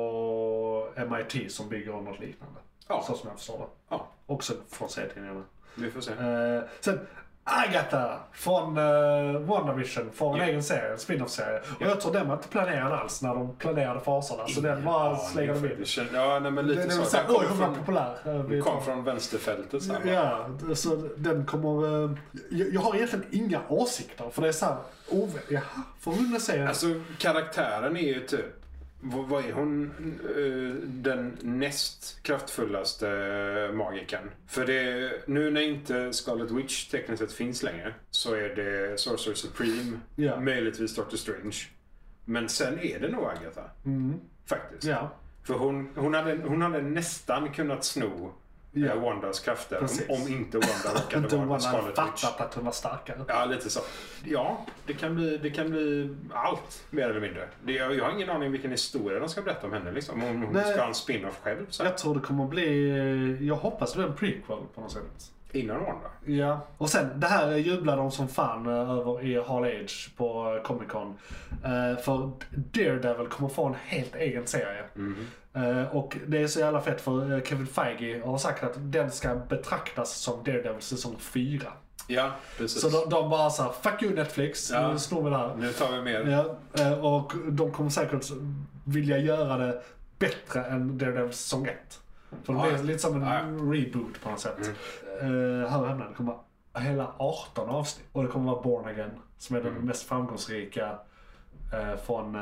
S1: på MIT som bygger något liknande.
S3: Ja.
S1: Så som jag förstår det.
S3: ja,
S1: Också från serietidningarna.
S3: vi får se.
S1: Eh, sen Agatha från uh, WandaVision får en egen serie, en spin-off-serie. Och jag tror den var inte planerad alls när de planerade faserna. Så den bara slänger de in.
S3: Ja, nej, men
S1: Det, det
S3: lite
S1: var
S3: så.
S1: såhär,
S3: Den
S1: oj hon
S3: kom
S1: var
S3: från,
S1: populär. Eh, vi tar-
S3: kom från vänsterfältet. Så här, bara.
S1: Ja, så den kommer... eh, Jag, jag har egentligen inga åsikter för det är såhär, oh, jaha, får hon säga
S3: Alltså, karaktären är ju typ... v- Vad är hon? Eh, Den näst kraftfullaste magikern. För det, nu när inte Scarlet Witch tekniskt sett finns längre så är det Sorcerer Supreme,
S1: Ja.
S3: möjligtvis Doctor Strange. Men sen är det nog Agatha. Faktiskt.
S1: Mm. Ja,
S3: För hon, hon, hade, hon hade nästan kunnat sno
S1: Ja.
S3: eh, Wandas krafter
S1: Precis.
S3: om, om inte Wanda
S1: inte
S3: råkade
S1: hon hade
S3: vara Scarlet Witch.
S1: fattat att hon var starkare.
S3: Ja, lite så. Ja, det kan bli, det kan bli allt mer eller mindre. Det, jag, jag har ingen aning vilken historia de ska berätta om henne. Liksom. Om hon
S1: Nej.
S3: ska ha en spin-off själv så här,
S1: Jag tror det kommer bli, jag hoppas det blir en prequel på något sätt.
S3: innan Wanda.
S1: Ja, och sen det här jublar de som fan eh, över i Hall Age på eh, Comic Con. Eh, för Daredevil kommer få en helt egen serie.
S3: Mhm.
S1: Eh, och det är så jävla fett för eh, Kevin Feige har sagt att den ska betraktas som Daredevil säsong 4.
S3: Ja, precis.
S1: Så de, de bara såhär, fuck you Netflix,
S3: Ja.
S1: nu snor vi det här.
S3: Nu tar vi mer.
S1: Ja, eh, och de kommer säkert vilja göra det bättre än Daredevil säsong 1. För det
S3: Ja.
S1: blir lite som en
S3: Ja. Mm.
S1: reboot på något sätt. Eh, här hemma, det kommer vara hela 18 avsnitt. Och det kommer vara Born Again, som är den
S3: Mm.
S1: mest framgångsrika eh, från eh,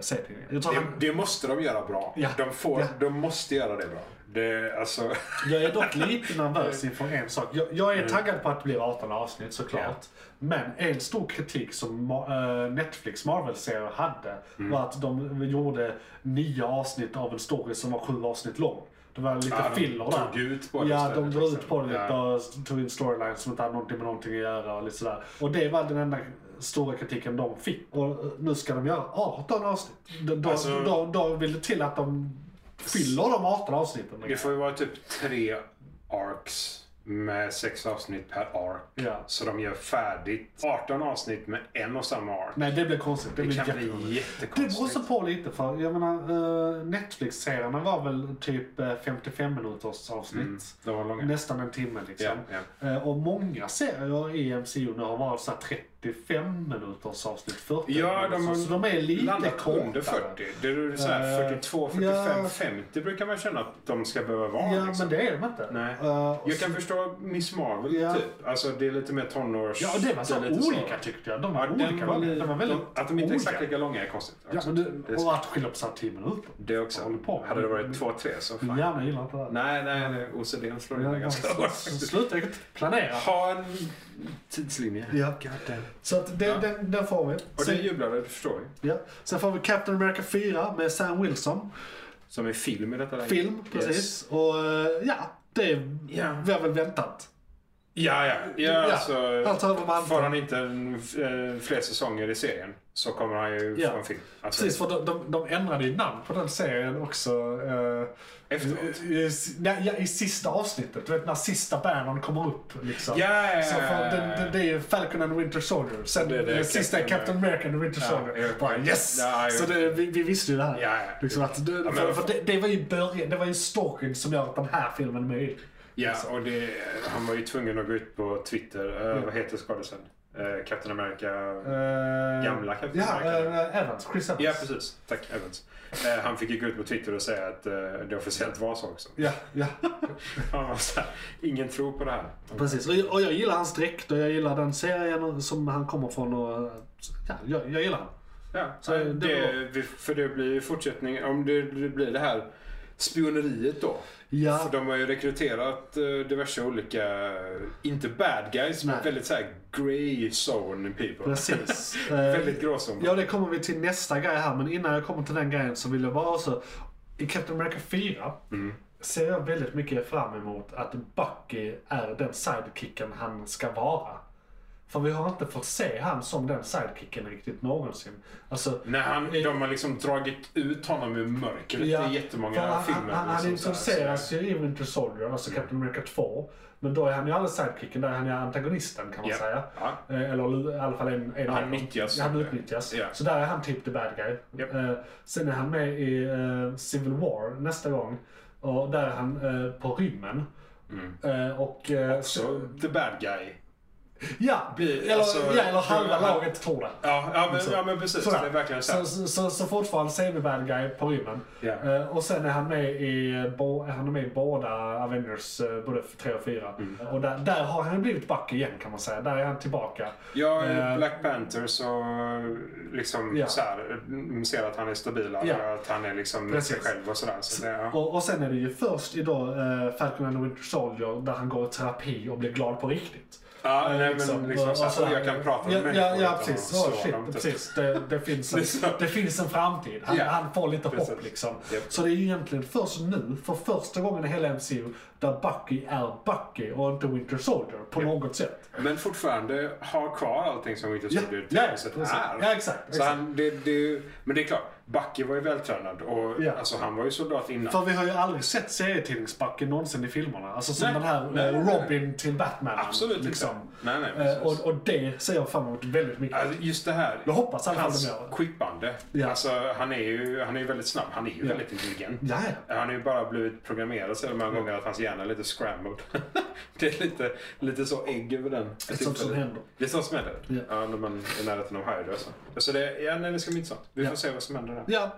S1: C-tidningen. Jag, tror
S3: Det,
S1: han-
S3: det måste de göra bra.
S1: Ja.
S3: De, får,
S1: Ja.
S3: de måste göra det bra. Det, alltså,
S1: jag är dock lite nervös inför en sak. Jag, jag
S3: Mm.
S1: är taggad på att det blir 18 avsnitt såklart. Men en stor kritik som Ma- eh, Netflix Marvel-serier hade
S3: Mm.
S1: var att de gjorde nio avsnitt av en story som var sju avsnitt lång. Det var lite
S3: Ja, de
S1: filler där.
S3: tog ut på det
S1: Ja,
S3: istället,
S1: de drog ut på det lite
S3: liksom.
S1: och tog in storylines som inte hade någonting med någonting att göra och lite sådär. Och det var den enda stora kritiken de fick. Och eh, nu ska de göra 18 avsnitt. Då, då,
S3: Alltså-
S1: då, då vill det till att de fyller de 18 avsnitten.
S3: det får ju vara typ tre arcs med sex avsnitt per arc.
S1: Ja.
S3: Så de gör färdigt 18 avsnitt med en och samma arc.
S1: Nej, det blir konstigt. Det,
S3: Det
S1: blir
S3: kan
S1: jättekonstigt.
S3: bli
S1: Det
S3: jättekonstigt.
S1: beror så på lite för, jag menar eh, Netflix-serierna var väl typ eh, 55 minuters avsnitt.
S3: De var långa.
S1: Nästan en timme liksom.
S3: Mm. Ja,
S1: Eh, och många serier i MCU nu har varit såhär 30 45 minuters avsnitt 40
S3: Ja, de har
S1: så de är lite
S3: Landat under
S1: kortare.
S3: 40. Det är så här
S1: Eh,
S3: 42, 45,
S1: ja.
S3: 50 brukar man känna att de ska behöva vara.
S1: Ja,
S3: liksom.
S1: men det är de inte.
S3: Nej.
S1: Eh, och
S3: Jag kan förstå Miss Marvel
S1: Ja.
S3: typ. Alltså det är lite mer tonårs...
S1: Ja, och det var så
S3: är lite så.
S1: olika tyckte jag. De var
S3: Ja,
S1: olika.
S3: den var,
S1: de var väldigt
S3: de, att de inte är exakt
S1: olika.
S3: lika långa är konstigt.
S1: Ja,
S3: också.
S1: men
S3: det,
S1: det,
S3: är-
S1: och att skilja på så här 10 minuter.
S3: det också.
S1: Håller på.
S3: Hade det varit två, tre så
S1: Min
S3: fan.
S1: hjärna gillar inte det. här.
S3: Nej, nej, nej. OCDn slår in
S1: Ja,
S3: mig ganska
S1: så-
S3: hårt
S1: så-
S3: faktiskt.
S1: Sluta planera.
S3: Ha en tidslinje.
S1: Ja.
S3: God damn.
S1: Så att det,
S3: Ja.
S1: den, den får vi.
S3: Och det
S1: Sen,
S3: jublade, det förstår vi.
S1: ja. Sen får vi Captain America 4 med Sam Wilson.
S3: Som är film i detta läget.
S1: Film,
S3: Yes.
S1: precis. Och eh, ja, det
S3: Ja.
S1: vi har väl väntat.
S3: Ja, ja. ja,
S1: Ja,
S3: alltså,
S1: han tar över med
S3: Får
S1: Anton.
S3: han inte en, eh, fler säsonger i serien så kommer han ju
S1: Ja.
S3: få en film. Alltså,
S1: Precis, för de, de, de ändrade ju namn på den serien också. eh,
S3: Efteråt.
S1: i- i- nej, ja, I sista avsnittet. Du vet när sista Bannon kommer upp. Liksom.
S3: Ja, ja,
S1: Så för,
S3: ja,
S1: det, det, det är ju Falcon and Winter Soldier. Sen
S3: Det är
S1: det,
S3: det,
S1: sista är
S3: Captain
S1: Captain America and Winter
S3: Ja,
S1: Soldier.
S3: ja.
S1: Bara yes!
S3: Ja, ja.
S1: så det, vi, vi visste ju det här.
S3: Ja, ja.
S1: Liksom att det,
S3: men-
S1: för, för det, det var ju början, det var ju storyn som gör att den här filmen är möjlig.
S3: Ja, och det, han var ju tvungen att gå ut på Twitter. Eh,
S1: Mm.
S3: Vad heter skådisen? Eh, Captain America.
S1: Eh.
S3: Gamla Captain
S1: ja,
S3: America.
S1: eh, Evans, Chris Evans.
S3: Ja, precis. Tack, Evans. Eh, han fick ju gå ut på Twitter och säga att eh, det officiellt var så också.
S1: Ja, ja.
S3: Han var så här, ingen tror på det här.
S1: precis. Och, och jag gillar hans dräkt och jag gillar den serien som han kommer från. Och, ja, jag, jag gillar han.
S3: Ja,
S1: Så
S3: nej,
S1: det
S3: det, vi- för det blir ju fortsättning. Om det, det blir det här spioneriet då.
S1: Ja.
S3: För de har ju rekryterat eh, diverse olika, inte bad guys,
S1: Nej.
S3: men väldigt så här grey zone people.
S1: Precis. Eh,
S3: väldigt gråzon.
S1: Ja, det kommer vi till nästa grej här. Men innan jag kommer till den grejen så vill jag bara också... I Captain America 4
S3: Mm.
S1: ser jag väldigt mycket fram emot att Bucky är den sidekicken han ska vara. För vi har inte fått se han som den sidekicken riktigt någonsin. Alltså,
S3: När han, de har liksom dragit ut honom ur mörkret i
S1: för
S3: jättemånga
S1: han,
S3: filmer.
S1: Han, han
S3: liksom så här, Mm.
S1: introduceras
S3: så-
S1: ju i Winter Soldier, alltså Captain America 2. Men då är han ju aldrig sidekicken, där är han ju antagonisten kan man
S3: Ja.
S1: säga.
S3: Ja.
S1: Eh, Eller i alla fall en, en av
S3: Han
S1: dem.
S3: nyttjas.
S1: Han utnyttjas.
S3: Ja.
S1: Så där är han typ the bad guy.
S3: Ja.
S1: Eh, Sen är han med i eh, Civil War nästa gång. Och där är han eh, på rymmen. Eh, och, eh,
S3: Mm. Så, the bad guy.
S1: ja,
S3: blir-
S1: eller,
S3: alltså,
S1: ja, eller halva
S3: han-
S1: laget tror det.
S3: Ja, ja, men, ja men precis.
S1: Sådär.
S3: Det är verkligen så.
S1: så,
S3: här.
S1: så, så, så fortfarande semi bad guy på rymmen.
S3: Ja.
S1: Eh, och sen är han med i, eh, bo, han är med i båda Avengers, eh, både 3 och 4.
S3: Mm.
S1: Och där, där har han blivit back igen kan man säga. Där är han tillbaka.
S3: Ja, i
S1: Eh,
S3: Black Panther så liksom
S1: Ja.
S3: så här, man ser att han är stabilare
S1: Ja.
S3: och att han är liksom sig
S1: Precis.
S3: själv och sådär. Så det, ja.
S1: Och, och sen är det ju först i då, eh, Falcon and the Winter Soldier där han går i terapi och blir glad på riktigt.
S3: ja,
S1: Eh,
S3: nej, men liksom,
S1: och-
S3: så
S1: och
S3: här,
S1: sådär.
S3: jag kan prata
S1: ja,
S3: med
S1: Ja,
S3: människor
S1: ja
S3: utan
S1: precis.
S3: att
S1: Oh,
S3: slå
S1: shit,
S3: dem, typ.
S1: precis. Det, det, finns en,
S3: Liksom.
S1: det finns en framtid. Han,
S3: Ja.
S1: han får lite
S3: Precis.
S1: hopp liksom.
S3: Japp.
S1: Så det är ju egentligen först nu, för första gången i hela MCU, där Bucky är Bucky och inte Winter Soldier på något sätt.
S3: Men fortfarande har kvar allting som Winter
S1: Ja,
S3: Soldier
S1: ja,
S3: tekniskt sett
S1: precis.
S3: är.
S1: Ja, exakt,
S3: Så
S1: exakt.
S3: han, det, det, är ju- men det är klart, Bucky var ju vältränad och
S1: Ja.
S3: alltså, han var ju soldat innan.
S1: För vi har ju aldrig sett serietidnings-Bucky någonsin i filmerna. Alltså som
S3: Nej.
S1: den här eh,
S3: Nej, nej, nej.
S1: Robin till Batman.
S3: Absolut
S1: liksom.
S3: inte. Nej, nej,
S1: Eh,
S3: precis.
S1: och, och det ser jag fram emot väldigt mycket.
S3: Alltså, just det här.
S1: Jag hoppas i alla fall de
S3: Hans
S1: gör det.
S3: quippande.
S1: Ja.
S3: Alltså, han, är ju, han är ju väldigt snabb. Han är ju
S1: Ja.
S3: väldigt intelligent.
S1: Ja, ja.
S3: Han har ju bara blivit programmerad så
S1: Mm.
S3: många gånger att hans hjärna är lite scrambled. det är lite, lite så ägg över den.
S1: Det är sånt som händer.
S3: Det är sånt som händer.
S1: Ja.
S3: Ja. när man är i närheten av Hyde. och Så, så det, ja, nej, det ska bli intressant. Vi
S1: Ja.
S3: får se vad som händer där.
S1: Ja.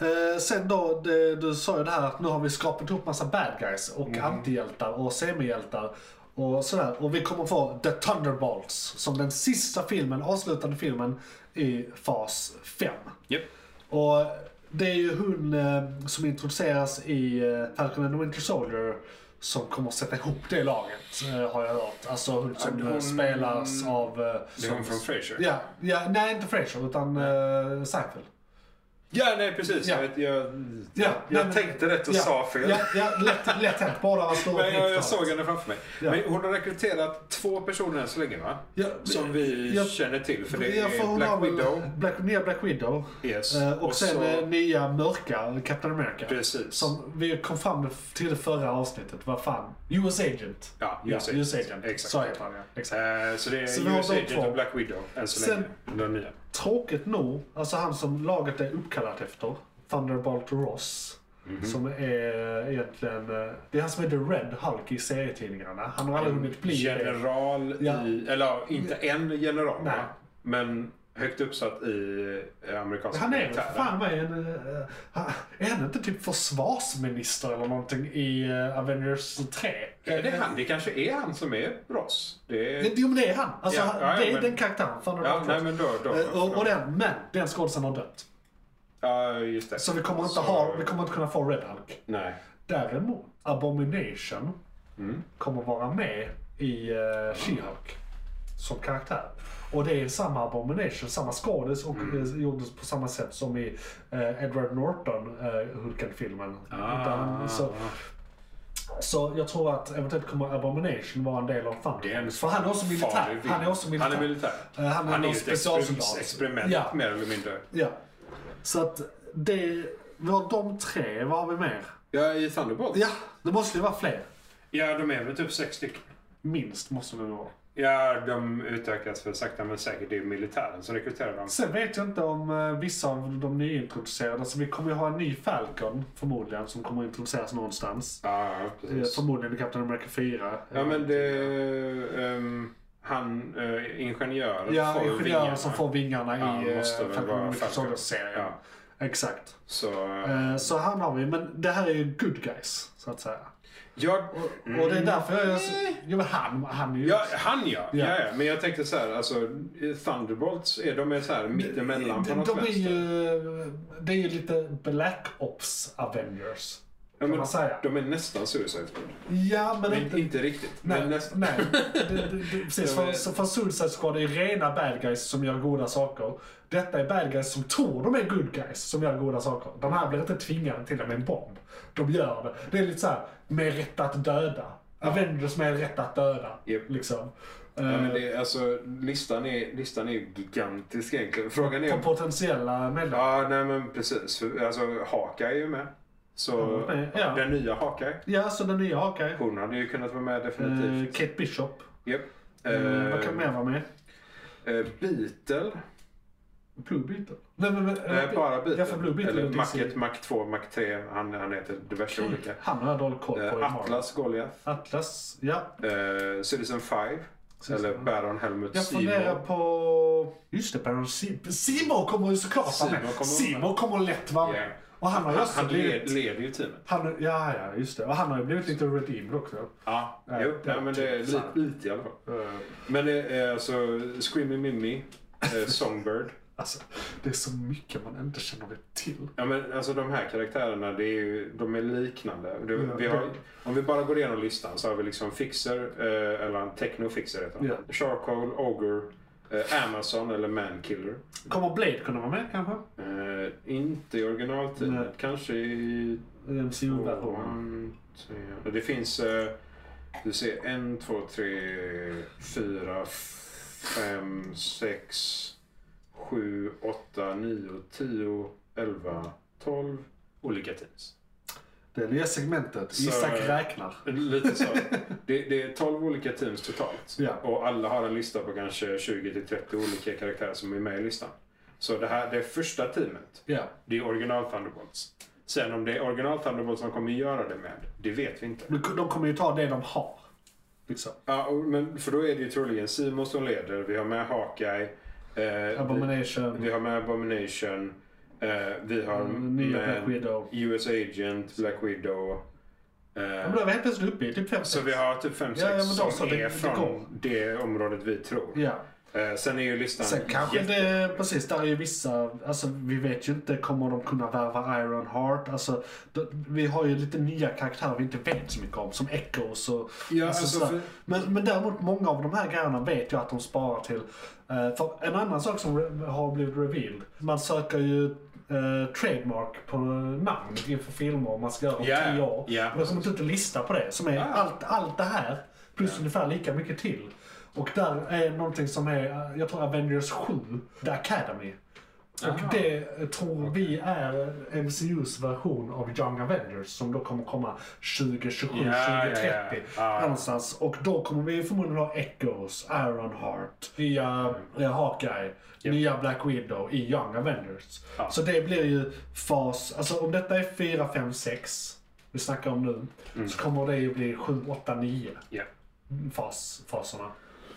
S1: Eh, sen då, det, du sa ju det här att nu har vi skapat ihop massa bad guys och antihjältar och semihjältar och sådär. Och vi kommer få The Thunderbolts som den sista filmen, avslutande filmen i fas 5.
S3: Japp.
S1: Och det är ju hon eh, som introduceras i eh, Falcon and the Winter Soldier som kommer att sätta ihop det laget, eh, har jag hört. Alltså hon som
S3: Ja, hon-
S1: eh, spelas av... eh,
S3: Det är hon från Frasier.
S1: Ja, ja, nej inte Fraser utan eh, Seinfeld.
S3: Ja, nej precis.
S1: Ja.
S3: Jag, vet, jag,
S1: Ja, nej,
S3: jag
S1: men-
S3: tänkte rätt och
S1: ja,
S3: sa fel.
S1: Ja, ja lätt, lätt hänt. Bara han står
S3: Men jag,
S1: upp
S3: jag såg henne framför mig.
S1: Ja.
S3: Men hon har rekryterat två personer än så länge va?
S1: Ja,
S3: Som vi
S1: ja,
S3: känner till. För det
S1: Ja, för
S3: är
S1: hon har
S3: Black
S1: väl
S3: Widow.
S1: Black, nya Black Widow.
S3: Yes.
S1: Eh, och,
S3: Och
S1: sen
S3: så-
S1: eh, nya mörka Captain America.
S3: Precis.
S1: Som vi kom fram till det förra avsnittet. Vad fan? US Agent.
S3: Ja, US
S1: ja, US
S3: Agent.
S1: Agent.
S3: Exakt.
S1: Så heter han ja. Exakt.
S3: Eh, Så det är
S1: Så vi har
S3: US
S1: de
S3: Agent
S1: två.
S3: och Black Widow än så
S1: Sen-
S3: länge. Den nya.
S1: Tråkigt nog, alltså han som laget är uppkallat efter, Thunderbolt Ross. Som är egentligen... eh, Det är han som är The Red Hulk i serietidningarna. Han har aldrig hunnit bli det.
S3: general
S1: Ja.
S3: i, eller ja, inte en general
S1: Nej.
S3: va? men högt uppsatt i eh, amerikanska
S1: Han är väl
S3: militären.
S1: fan mig en... eh, han- Är han inte typ försvarsminister eller någonting i eh, Avengers 3?
S3: Ja, det, är han, det kanske är han som är Ross. Det är,
S1: Det- Jo men det är han. Alltså,
S3: Ja,
S1: han-
S3: ja, ja,
S1: det är
S3: men-
S1: den karaktären. Fan, det
S3: ja,
S1: var-
S3: nej, men då, då,
S1: Eh, och, och den, men den skådisen har dött.
S3: ja, just det.
S1: Så vi kommer inte,
S3: Så-
S1: ha, vi kommer inte kunna få Red Hulk.
S3: Nej.
S1: Däremot, Abomination
S3: Mm.
S1: kommer vara med i uh, She-Hulk som karaktär. Och det är samma Abomination, samma skådis och
S3: Mm.
S1: eh, gjordes på samma sätt som i eh, Edward Norton, eh, Hulken-filmen.
S3: Ah.
S1: Utan- Så, så jag tror att eventuellt kommer Abomination vara en del av Thunderbolts. För han är också militär.
S3: farlig
S1: Han är också militär.
S3: Han är militär.
S1: Eh, han är någon
S3: ju ett
S1: specialsoldat.
S3: experim- experiment
S1: Ja.
S3: mer eller mindre.
S1: Ja. Så att det... Vi har de tre, vad har vi mer?
S3: Ja, i Thunderbolt.
S1: Ja, det måste ju vara fler.
S3: ja, de är väl typ sex stycken.
S1: Minst måste det vara.
S3: Ja, de utökas väl sakta men säkert. Det är militären som rekryterar dem.
S1: Sen vet jag inte om eh, vissa av de nyintroducerade, så vi kommer ju ha en ny Falcon förmodligen som kommer att introduceras någonstans.
S3: Ja, ja,
S1: Eh,
S3: precis.
S1: Förmodligen i Captain America 4.
S3: Ja, men det... ehm, han, eh, ingenjören
S1: Ja,
S3: får
S1: ingenjörer
S3: vingarna.
S1: som får vingarna
S3: Ja,
S1: i eh,
S3: måste väl
S1: Falcon
S3: vara
S1: and Winter
S3: Falcon.
S1: Soldier-serien.
S3: Ja.
S1: Exakt.
S3: Så,
S1: Eh, Så han har vi, men det här är ju good guys, så att säga.
S3: jag,
S1: Och det är därför jag... Jo, men han, han är ju...
S3: Mm. ja, han ja.
S1: Ja.
S3: Ja. ja! Men jag tänkte så här, alltså Thunderbolts, är, de är så här mittemellan på något
S1: de är
S3: vänster.
S1: ju, det är ju lite Black Ops Avengers.
S3: ja,
S1: man säga.
S3: De är nästan Suicide Squad.
S1: Ja, men
S3: Men
S1: inte...
S3: inte riktigt.
S1: Nej,
S3: Men nästan.
S1: nej. Det, det, det, precis. För, så- för Suicide Squad är rena bad guys som gör goda saker. Detta är bad guys som tror de är good guys som gör goda saker. De här blir inte tvingade till det med en bomb. De gör det. Det är lite så här, med rätt att döda. Avengers med rätt att döda.
S3: Japp.
S1: Liksom.
S3: Ja, men det, är- alltså, listan, är, listan är ju gigantisk egentligen. Frågan
S1: Eh,
S3: är...
S1: på potentiella medlemmar.
S3: Ja, nej men precis. För, Alltså, Haka är ju med. Så
S1: Ja, ja.
S3: den nya Haka.
S1: Ja, så den nya Hawkeye.
S3: Hon hade ju kunnat vara med
S1: Eh,
S3: definitivt.
S1: Kate Bishop.
S3: Japp.
S1: Eh, vad kan
S3: Eh,
S1: mer vara med?
S3: eh, Beetle.
S1: Blue Beetle? Nej, men, men,
S3: Nej, bara Beetle.
S1: Ja, för Blue Beetle är
S3: Eller
S1: ju
S3: Mac
S1: DC.
S3: 1, Mac 2, Mac 3. Han, han heter diverse olika.
S1: Han har jag dålig koll på. i
S3: Eh,
S1: morgon.
S3: Atlas Goliath.
S1: Atlas, ja.
S3: Eh, Citizen 5. Eller Baron Helmut
S1: Jag funderar
S3: Seymour.
S1: på... Just det, Baron Seymour. Seymour kommer ju såklart vara
S3: Seymour
S1: med.
S3: kommer-
S1: Seymour kommer lätt vara med.
S3: Yeah.
S1: Och han har ju
S3: Han,
S1: också
S3: han led,
S1: blivit...
S3: leder ju teamet.
S1: Han, ja, ja, just det. Och han har ju blivit lite redeemed också.
S3: Ja,
S1: Ja,
S3: jo,
S1: det-
S3: nej, men det är
S1: så
S3: lite,
S1: här.
S3: lite i alla fall.
S1: Eh,
S3: Men eh, alltså, Screaming Mimi, eh, Songbird.
S1: Alltså, det är så mycket man inte känner till.
S3: Ja, men alltså de här karaktärerna, det är ju, de är liknande. Det,
S1: Ja,
S3: vi har,
S1: det-
S3: om vi bara går igenom listan så har vi liksom Fixer, eh, eller en Techno-Fixer heter han.
S1: Ja.
S3: Charcoal, Ogre, eh, Amazon eller Mankiller.
S1: Kommer Blade kunna vara med kanske?
S3: Eh, inte i originaltiden,
S1: Nej.
S3: kanske i...
S1: MCU-versionen.
S3: One, two- Det finns, eh, du ser, en, två, tre, fyra, f- fem, sex, sju, åtta, nio, tio, elva, tolv olika teams.
S1: Det nya segmentet.
S3: Så-
S1: Isak räknar.
S3: Lite så. Det, det är 12 olika teams totalt.
S1: Ja.
S3: Och alla har en lista på kanske 20-30 olika karaktärer som är med i listan. Så det här det är första teamet.
S1: Ja.
S3: Det är original Thunderbolts. Sen om det är original Thunderbolts de kommer göra det med, det vet vi inte.
S1: Men De kommer ju ta det de har. Liksom.
S3: Ja, och- men för då är det ju troligen Simon som leder. Vi har med Hawkeye. Eh,
S1: Abomination.
S3: Vi, vi har med Abomination. Eh, vi har
S1: Mm, nya
S3: med
S1: Black Widow.
S3: US Agent, Black Widow.
S1: Ja, men
S3: Eh,
S1: då är vi helt plötsligt uppe i typ 5
S3: så vi har typ fem
S1: Ja, ja,
S3: sex
S1: men då så,
S3: som
S1: det-
S3: är
S1: det går.
S3: från det området vi tror.
S1: Ja.
S3: Eh, sen är ju listan
S1: Sen kanske
S3: jätte-
S1: det, precis, där är ju vissa, alltså vi vet ju inte, kommer de kunna värva Ironheart? Alltså, d- vi har ju lite nya karaktärer vi inte vet så mycket om, som Echoes och...
S3: Ja, alltså,
S1: sådär.
S3: för-
S1: men, men däremot många av de här grejerna vet jag att de sparar till. Eh, för en annan sak som re- har blivit revealed, man söker ju eh, trademark på namn inför filmer om man ska göra om
S3: Ja,
S1: tio år.
S3: ja, Ah.
S1: Men som inte ut en lista på det, som är allt, allt det här plus ungefär lika mycket till. Och där är någonting som är, eh, jag tror Avengers 7, The Academy. Och
S3: Aha.
S1: det tror vi är MCUs version av Young Avengers som då kommer komma 2027,
S3: Ja, ja, ja.
S1: 2030.
S3: Ja.
S1: Någonstans. Och då kommer vi förmodligen ha Echoes, Ironheart, nya eh, Hawkeye, nya Black Widow i Young Avengers.
S3: Ja.
S1: Så det blir ju fas, alltså om detta är 4, 5, 6 vi snackar om nu,
S3: Mm.
S1: så kommer det ju bli 7, 8, 9
S3: Ja.
S1: fas, faserna.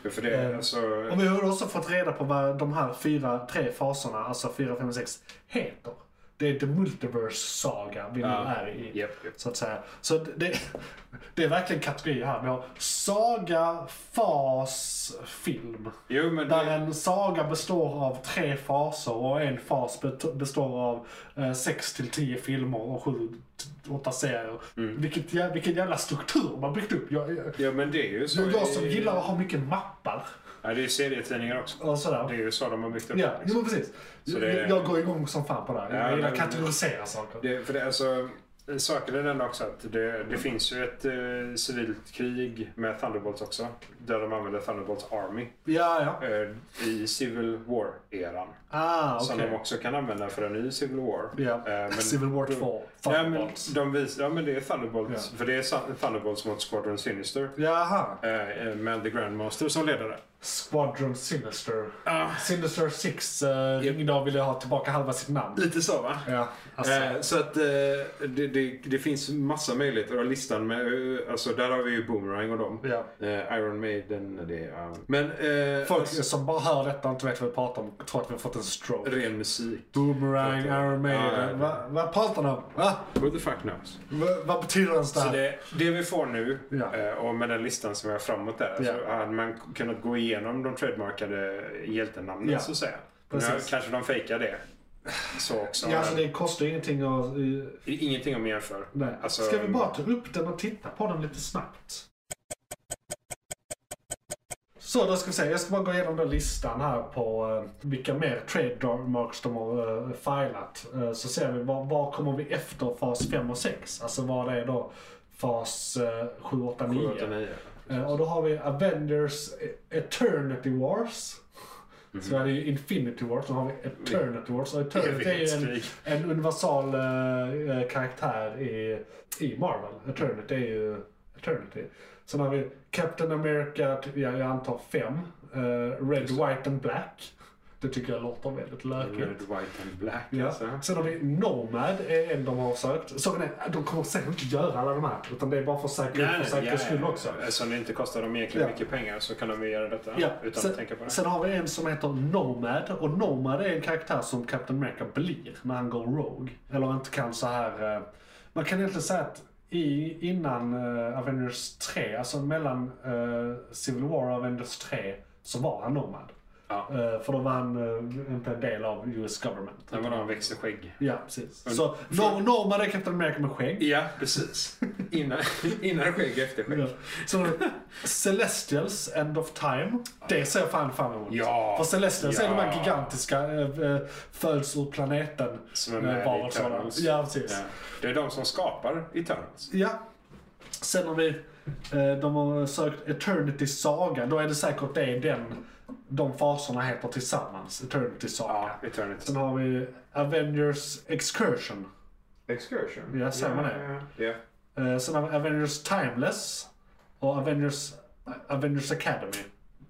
S3: Ja, För det,
S1: Eh,
S3: alltså,
S1: Och vi har också fått reda på vad de här fyra, tre faserna, alltså 4, 5, 6, heter. Det är The Multiverse Saga vi nu
S3: Ja.
S1: är i.
S3: Japp, japp.
S1: Så att säga. Så det, det är verkligen kategorier här. Vi har saga, fas, film.
S3: jo, men
S1: Där
S3: det,
S1: en saga består av tre faser och en fas bet- består av eh, 6-10 filmer och 7-8 serier.
S3: Mm.
S1: Vilket, jä- vilken jävla struktur man byggt upp. Jag, jag,
S3: ja, men det är ju så.
S1: jag som
S3: i-
S1: gillar att ha mycket mappar
S3: Ja, det är ju serietidningar också.
S1: och sådär.
S3: Det är ju så de har byggt upp
S1: Ja,
S3: det,
S1: jo,
S3: liksom.
S1: men precis.
S3: Så det-
S1: Jag- Jag går igång som fan på det här.
S3: Ja,
S1: Jag gillar att
S3: men-
S1: kategorisera saker.
S3: Det, för det, alltså, saken är den också att det, det finns ju ett eh, civilt krig med Thunderbolts också. Där de använder Thunderbolts Army
S1: Ja, ja.
S3: eh, i Civil War-eran.
S1: Ah,
S3: Som
S1: okej.
S3: de också kan använda för en ny Civil War.
S1: Ja.
S3: Eh, men-
S1: Civil War 2.
S3: Ja men,
S1: Thunderbolts.
S3: de visar, ja men det är Thunderbolts. För det är Sun- Thunderbolts mot Squadron Sinister.
S1: Jaha.
S3: eh, eh, Med The Grandmaster som ledare.
S1: Squadron Sinister.
S3: Ah.
S1: Sinister 6 uh, ringde och ville ha tillbaka halva sitt namn.
S3: Lite så va?
S1: Ja, alltså.
S3: Eh, så att eh, det, det, det finns massa möjligheter och listan med, eh, alltså där har vi ju Boomerang och dem.
S1: Ja.
S3: Eh, Iron Maiden, det är... ja. men... Eh,
S1: Folk som bara hör detta och inte vet vad vi pratar om tror att vi har fått en stroke.
S3: Ren musik.
S1: Boomerang, Iron
S3: Ja, ja.
S1: Maiden. Va- Vad pratar ni om? Va?
S3: Who the fuck knows?
S1: Va- Vad betyder ens det
S3: Så
S1: här?
S3: det, det vi får nu
S1: Ja.
S3: eh, och med den listan som vi har framåt där så
S1: Ja.
S3: hade man kunnat gå igenom de trademarkade hjältenamnen
S1: Ja.
S3: så att säga. Nu
S1: Precis.
S3: kanske de fejkar det. Så också.
S1: Ja, alltså,
S3: men
S1: det kostar ju ingenting att... eh,
S3: det är Ingenting om jämför.
S1: Nej.
S3: Alltså,
S1: Ska vi bara ta upp den och titta på den lite snabbt? Så då ska vi se, jag ska bara gå igenom den listan här på eh, vilka mer trademarks de har eh, filat. Eh, så ser vi, var, var kommer vi efter fas 5 och 6? Alltså vad det är då fas eh, 7, 8, 9.
S3: 789.
S1: Eh, och då har vi Avengers eh, Eternity Wars. Så är det ju Infinity Wars, sen har vi Eternity Wars. Och Eternity är ju en,
S3: Evighetskrig.
S1: en universal eh, eh, karaktär i, i Marvel. Eternity är ju Eternity. Sen har vi Captain America, typ, ja, jag antar fem. Eh, Red, White and Black. Det tycker jag låter väldigt lökigt.
S3: Red, white and black
S1: Ja.
S3: alltså.
S1: Sen har vi Nomad, är en de har sökt. Saken är, de kommer säkert inte göra alla de här. Utan det är bara för säkerhet- för säkerhets skull också.
S3: Eftersom Alltså, det inte kostar dem egentligen
S1: Ja.
S3: mycket pengar så kan de ju göra detta
S1: Ja,
S3: utan
S1: sen,
S3: att tänka på det.
S1: sen har vi en som heter Nomad. Och Nomad är en karaktär som Captain America blir när han går Rogue. Eller inte kan så här... eh, Man kan egentligen säga att i, innan eh, Avengers 3, alltså mellan eh, Civil War och Avengers 3, så var han Nomad.
S3: Ja.
S1: Eh, för då var han eh, inte en del av US government.
S3: Det var de växer skägg.
S1: Ja, precis. Så no, Norman är Captain America med skägg.
S3: Ja, precis. Innan, innan skägg, efter skägg.
S1: Ja. Så Celestials, End of Time. Det ser jag fan fram emot.
S3: Ja.
S1: För Celestials är de
S3: Ja.
S1: här gigantiska äh, äh, föds ur planeten
S3: Som är med
S1: eh,
S3: i
S1: varelserna.
S3: Eternals.
S1: Ja, precis.
S3: Ja. Det är de som skapar Eternals.
S1: Ja. Sen har vi, eh, de har sökt Eternity Saga. Då är det säkert det den, de faserna heter tillsammans. Eternity Saga.
S3: Ja, Eternity.
S1: Sen har vi Avengers Excursion.
S3: Excursion?
S1: Ja, säger man det?
S3: Ja. ja.
S1: Eh, sen har vi Avengers Timeless och Avengers, Avengers Academy.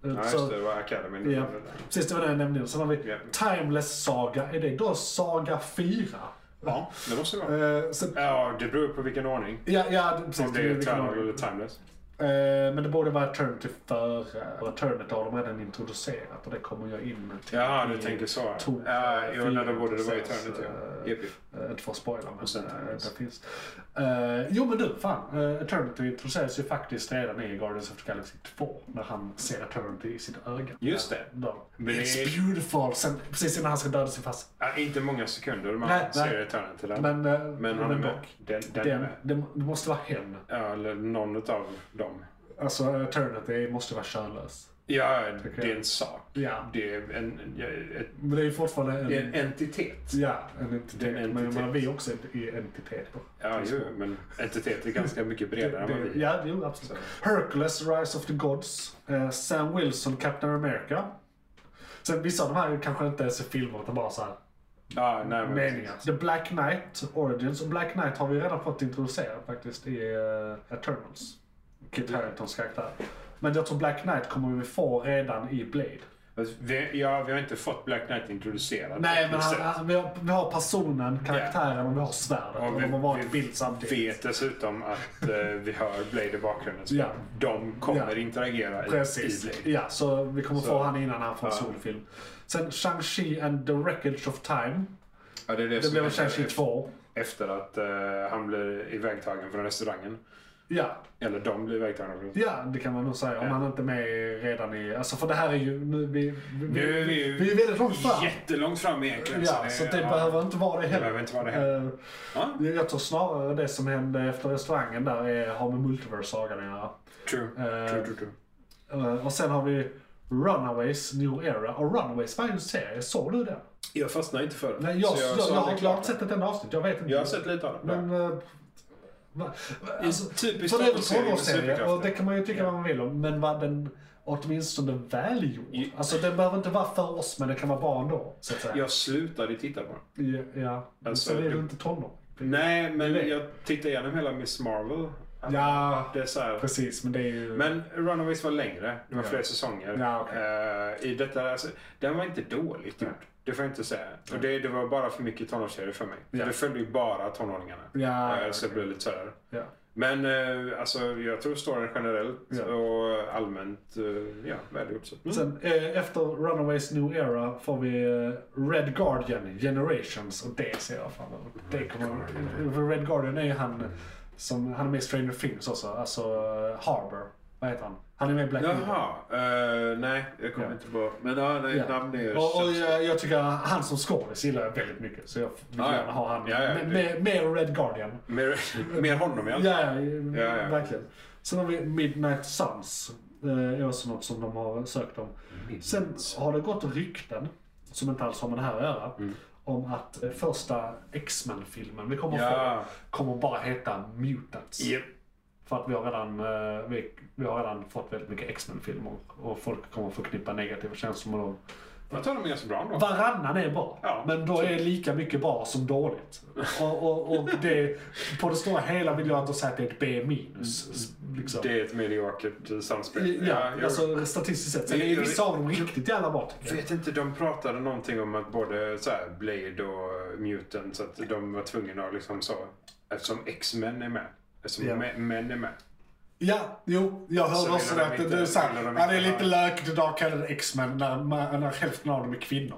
S1: Eh,
S3: Ja,
S1: så-
S3: just det. Det var Academy.
S1: ja, precis, det var det jag nämnde. Sen har vi
S3: Ja.
S1: Timeless Saga. Är det då Saga 4?
S3: Ja, det måste det vara.
S1: Eh, sen,
S3: Ja, det beror på vilken ordning.
S1: ja, ja, det- precis.
S3: Om det
S1: det är
S3: är
S1: vilken
S3: Eternal
S1: ordning.
S3: eller Timeless.
S1: Eh, men det borde vara Eternity före. Och Eternity har de redan introducerat och det kommer jag in till.
S3: Jaha, du
S1: i-
S3: tänker så.
S1: Tor-
S3: Ja, jo, nej, då
S1: fyra,
S3: borde det vara
S1: precis,
S3: Eternity.
S1: eh,
S3: ja. Japp, japp.
S1: Eh, Inte för att spoila, men
S3: Och sen
S1: eh,
S3: Timeless.
S1: det finns. Eh, jo men du, fan. eh, Eternity introduceras ju faktiskt redan i Guardians of the Galaxy 2. När han ser Eternity i sitt öga.
S3: Just det.
S1: Då.
S3: Men det-
S1: It's beautiful! Sen, precis innan han ska döda sin fast.
S3: Ja, inte många sekunder man
S1: Nej,
S3: ser
S1: nej.
S3: Eternity där. Men,
S1: Men, eh, men,
S3: han är med.
S1: dock.
S3: Den, den, är
S1: Den,
S3: med.
S1: det, det måste vara hen.
S3: Ja, eller någon av dem.
S1: Alltså Eternity måste vara könlös.
S3: Ja, det är
S1: jag.
S3: en sak.
S1: Ja. Mm.
S3: Det är en, ja, ett,
S1: Men det är ju fortfarande en...
S3: det är en entitet.
S1: Ja, en entitet.
S3: Det är en
S1: Men jag
S3: entitet.
S1: menar, vi är också i entiteter.
S3: Ja, jo, men entitet är ganska mycket bredare än vad
S1: Det,
S3: vi är.
S1: ja, jo absolut. Hercules, Rise of the Gods, eh, Sam Wilson, Captain America. Sen vissa av de här kanske inte ens är filmer utan bara så här
S3: Ja, nej, men
S1: meningar. The Black Knight Origins. Och Black Knight har vi redan fått introducerat faktiskt i uh, Eternals. Kit Haringtons karaktär. Men jag tror Black Knight kommer vi få redan i Blade.
S3: Fast Vi, ja, vi har inte fått Black Knight introducerad.
S1: Nej, men
S3: Precis.
S1: han, han, vi, har, vi har personen, karaktären och vi har svärdet.
S3: Ja,
S1: Och
S3: vi-
S1: de har varit
S3: vi
S1: i bild samtidigt.
S3: vet dessutom att eh, vi hör Blade i bakgrunden. Så
S1: Ja.
S3: De kommer
S1: Ja.
S3: interagera i-
S1: Precis.
S3: i Blade.
S1: Ja, så vi kommer
S3: Så.
S1: få han innan han får en
S3: Ja.
S1: solfilm. Sen Shang-Chi and the Wreckage of Time.
S3: Ja, det är det,
S1: Det
S3: som
S1: blev
S3: händer
S1: Shang-Chi 2.
S3: Efter att eh, han blir ivägtagen från restaurangen.
S1: Ja,
S3: Eller de blir ivägtagna från
S1: ja, det kan man nog säga. Om
S3: Ja.
S1: han inte är med redan i... Alltså för det här är ju... Nu, vi, vi,
S3: Nu är vi ju
S1: vi är väldigt långt fram.
S3: Jättelångt fram egentligen.
S1: Ja, så det behöver inte vara det heller.
S3: behöver inte vara det heller.
S1: Eh,
S3: Ja,
S1: Jag tror snarare det som hände efter restaurangen där är, har med Multiverse-sagan att göra.
S3: true.
S1: Eh,
S3: true, true, true.
S1: Eh, Och sen har vi Runaways New Era. Och Runaways var ju en serie, såg du den?
S3: Jag fastnade inte för den.
S1: Nej, jag,
S3: så
S1: jag,
S3: såg
S1: jag,
S3: aldrig
S1: har
S3: klart
S1: klart sett ett enda avsnitt, jag vet inte.
S3: Jag har sett lite av den.
S1: Men... eh, va- va- Alltså,
S3: typiskt
S1: för det är en
S3: Marvel-serie med
S1: tonårsserie och
S3: superkrafter.
S1: det kan man ju tycka vad man vill om. Men var den åtminstone välgjord?
S3: Ja.
S1: Alltså den behöver inte vara för oss men den kan vara bra ändå. Så att säga.
S3: Jag slutade titta på den.
S1: Ja. ja.
S3: Alltså,
S1: Sen är
S3: det-
S1: du inte tonåring.
S3: Nej, men
S1: Nej.
S3: jag tittade igenom hela Miss Marvel.
S1: Ja,
S3: Det är så här.
S1: precis. Men det är ju...
S3: Men Runaways var längre. Det var
S1: Ja.
S3: fler säsonger.
S1: Ja, okej.
S3: Eh, I detta, alltså, den var inte dåligt gjord. Det får jag inte säga. Och det, det var bara för mycket tonårsserier för mig.
S1: Ja.
S3: Det följde ju bara tonåringarna.
S1: Ja,
S3: Eh, så det blev lite sådär.
S1: ja.
S3: Men eh, alltså, jag tror storyn generellt
S1: Ja.
S3: och allmänt eh, ja, välgjord. så. Mm.
S1: Sen eh, efter Runaways New Era får vi eh, Red Guardian Generations och det ser jag fram emot. Det kommer, för Red Guardian är ju han som, han är med i Stranger Things också, alltså eh, Harbour. Vad heter han? Han är med i Black Mirror.
S3: Jaha, eh, nej jag kommer
S1: Ja.
S3: inte på. Men ja, nej,
S1: Ja.
S3: namn är
S1: Och, och jag, jag tycker han som skådis gillar jag väldigt mycket. Så jag vill
S3: Ja, ja.
S1: gärna ha han.
S3: Ja, ja,
S1: med,
S3: det-
S1: med, med Red Guardian.
S3: mer, mer honom i alla
S1: Ja, ja,
S3: Ja, ja.
S1: verkligen. Sen har vi Midnight Suns. eh, är också något som de har sökt om. Sen har det gått rykten, som inte alls har med det här att göra, om att eh, första X-Men-filmen vi kommer
S3: Ja.
S1: få kommer bara heta Mutants.
S3: Japp.
S1: För att vi har, redan, eh, vi, vi har redan fått väldigt mycket X-Men-filmer och folk kommer förknippa negativa känslor med dem.
S3: Jag tar dem ganska bra ändå.
S1: Varannan är bra,
S3: Ja,
S1: men då är lika mycket bra som dåligt. Och, och, och det, på det stora hela vill jag ändå säga att det är ett B minus. Liksom.
S3: Mm, Det är ett mediokert eh, samspel.
S1: Ja,
S3: jag-
S1: alltså statistiskt sett. Sen är ju vissa av dem riktigt jävla bra. tycker jag.
S3: Jag vet inte, de pratade någonting om att både så här, Blade och Mutant, så att de var tvungna att liksom så, eftersom X-Men är med, eftersom
S1: Ja.
S3: mä- män är med.
S1: Ja, jo, jag
S3: Så
S1: hörde också
S3: vill de
S1: det att det,
S3: inte-
S1: det är sant.
S3: vill de
S1: Ja, det är
S3: inte
S1: lite lökigt idag att kalla det X-Men när, man- när hälften av dem är kvinnor.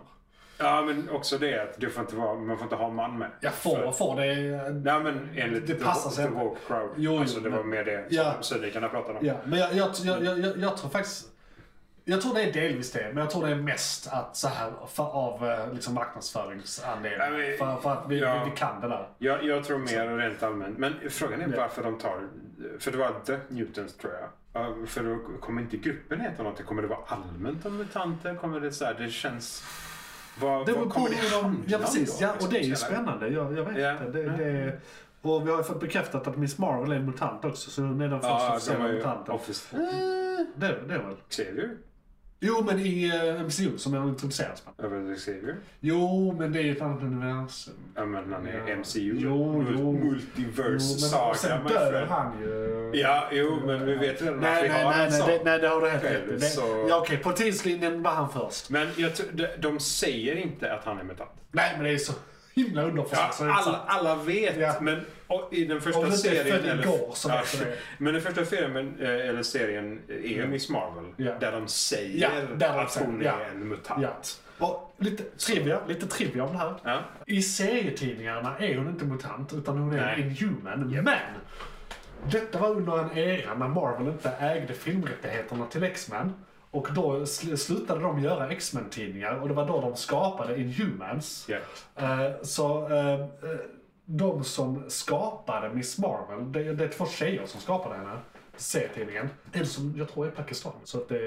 S3: Ja, men också det att du får inte vara, man får inte ha man med.
S1: Jag får,
S3: För-
S1: får det.
S3: Nej, men enligt
S1: Det passar sig
S3: The, the
S1: inte.
S3: Woke Crowd.
S1: Jo, jo,
S3: alltså, det
S1: men-
S3: var mer det
S1: Ja.
S3: som Sydnikarna pratade om.
S1: Ja, men jag, jag, jag, jag, jag, jag tror faktiskt... Jag tror det är delvis det, men jag tror det är mest att så här för, av eh, liksom
S3: Ja,
S1: marknadsföringsanledning.
S3: men-
S1: För, för att vi,
S3: ja.
S1: vi, vi kan det där.
S3: Jag, jag tror mer rent allmänt. Men frågan är varför de tar... För det var The Newtons tror jag. Ja, För då kommer inte gruppen heta något. Kommer det vara allmänt om mutanter? Kommer det så här, det känns... Vad,
S1: Det
S3: vad
S1: beror på
S3: kommer det
S1: hur de...
S3: handla
S1: Ja,
S3: om
S1: precis.
S3: då,
S1: Ja, och
S3: liksom,
S1: det är ju
S3: så här?
S1: spännande. Jag, jag vet
S3: Ja.
S1: inte. det. det och vi har ju fått bekräftat att Miss Marvel är en mutant också, så hon är den första
S3: Ja, de
S1: officiella
S3: har ju
S1: mutanten.
S3: Office... Eh,
S1: Det, det är väl?
S3: Xavier?
S1: Jo, men i eh, MCU som jag introduceras med.
S3: Över Xavier? Jo,
S1: Jo, men det är ju ett annat universum.
S3: Ja, men han är
S1: Ja.
S3: MCU.
S1: Jo, jo. Jo, men-
S3: Multiverse
S1: och
S3: saga,
S1: sen
S3: my
S1: dör
S3: friend.
S1: han ju.
S3: Ja, jo, men vi vet redan att vi
S1: Nej, nej,
S3: har
S1: nej,
S3: en
S1: nej,
S3: sån.
S1: det, nej, det har du helt rätt i.
S3: Själv,
S1: Det-
S3: så-
S1: Ja, okej, på tidslinjen var han först.
S3: Men jag tror, de, de säger inte att han är mutant.
S1: Nej, men det är så himla underförstått.
S3: Ja,
S1: så Alltså, det är inte
S3: alla,
S1: sant.
S3: alla vet,
S1: Ja.
S3: men och i den
S1: Om
S3: första
S1: det inte är
S3: serien...
S1: född igår så
S3: ja,
S1: vet du det.
S3: Men den första filmen, eh, eller serien, är ju Miss Marvel.
S1: Ja.
S3: Där de säger
S1: Ja, där de
S3: att
S1: säger,
S3: hon
S1: ja.
S3: är en mutant.
S1: Ja. Och lite trivia, lite trivia om det här.
S3: Ja.
S1: I serietidningarna är hon inte mutant, utan hon är
S3: Nej.
S1: en inhuman. Men! Detta var under en era när Marvel inte ägde filmrättigheterna till X-Men. Och då sl- slutade de göra X-Men-tidningar och det var då de skapade Inhumans.
S3: Ja.
S1: Eh, så eh, eh, de som skapade Miss Marvel, det, det är två tjejer som skapade henne. C-tidningen. En som jag tror är pakistan. Så att det,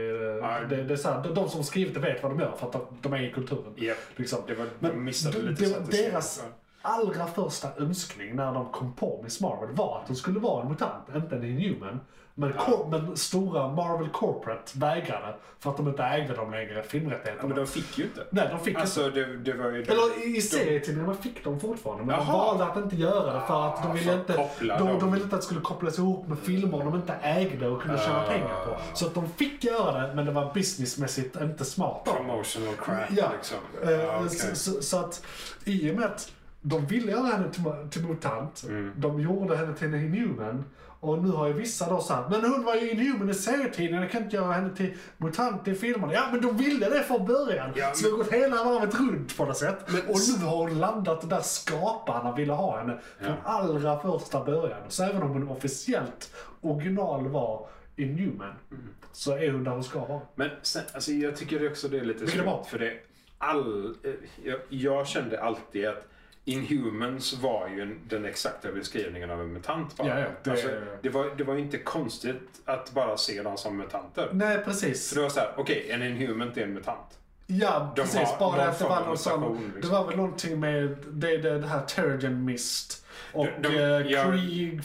S3: Ja.
S1: det, det är så här, de, de som skrivit det vet vad de gör för att de, de är i kulturen.
S3: Japp.
S1: Liksom.
S3: Det var, de missade
S1: d-
S3: lite
S1: det
S3: så
S1: var
S3: att det
S1: deras,
S3: ska-
S1: allra första önskning när de kom på Miss Marvel var att hon skulle vara en mutant, inte en inhuman. Men, ko- men stora Marvel Corporate vägrade för att de inte ägde dem längre, filmrättigheterna.
S3: Men de fick ju inte.
S1: Nej, de fick
S3: Alltså det, det var ju...
S1: inte. Eller i- i serietidningarna fick de fortfarande, men de
S3: Jaha.
S1: valde att inte göra det för att de ville
S3: för att
S1: inte,
S3: koppla
S1: de,
S3: dem.
S1: de ville inte att det skulle kopplas ihop med filmer de inte ägde och kunde tjäna
S3: Ah.
S1: pengar på. Så att de fick göra det, men det var businessmässigt inte smart. av dem.
S3: Promotional crap
S1: Ja.
S3: liksom.
S1: Eh,
S3: Ja, okej.
S1: så, så, så att i och med att de ville göra henne till, till mutant,
S3: Mm.
S1: de gjorde henne till en inhuman. Och nu har ju vissa då såhär, men hon var ju inhuman i serietidningen, jag kan inte göra henne till mutant i filmerna. Ja men de ville det från början!
S3: Ja,
S1: Så vi har gått hela varvet runt på något sätt. och nu har hon landat där skaparna ville ha henne från allra första början. Så även om hon officiellt original var inhuman,
S3: Mm.
S1: så är hon där hon ska vara.
S3: Men sen, alltså jag tycker också det är lite
S1: Vilket var?
S3: skumt för det all, eh, jag, jag kände alltid att Inhumans var ju en, den exakta beskrivningen av en mutant bara.
S1: Ja, ja, det-
S3: det... Alltså, det, var, det var ju inte konstigt att bara se dem som mutanter.
S1: Nej precis.
S3: Så det var så här, okej, en Inhuman är en mutant.
S1: Ja,
S3: De
S1: precis.
S3: har
S1: Bara
S3: någon
S1: att det var
S3: form av
S1: någon
S3: mutation,
S1: sån, Det
S3: liksom.
S1: var väl någonting med det, det, det här Terrigen Mist och
S3: De- de-
S1: eh,
S3: ja.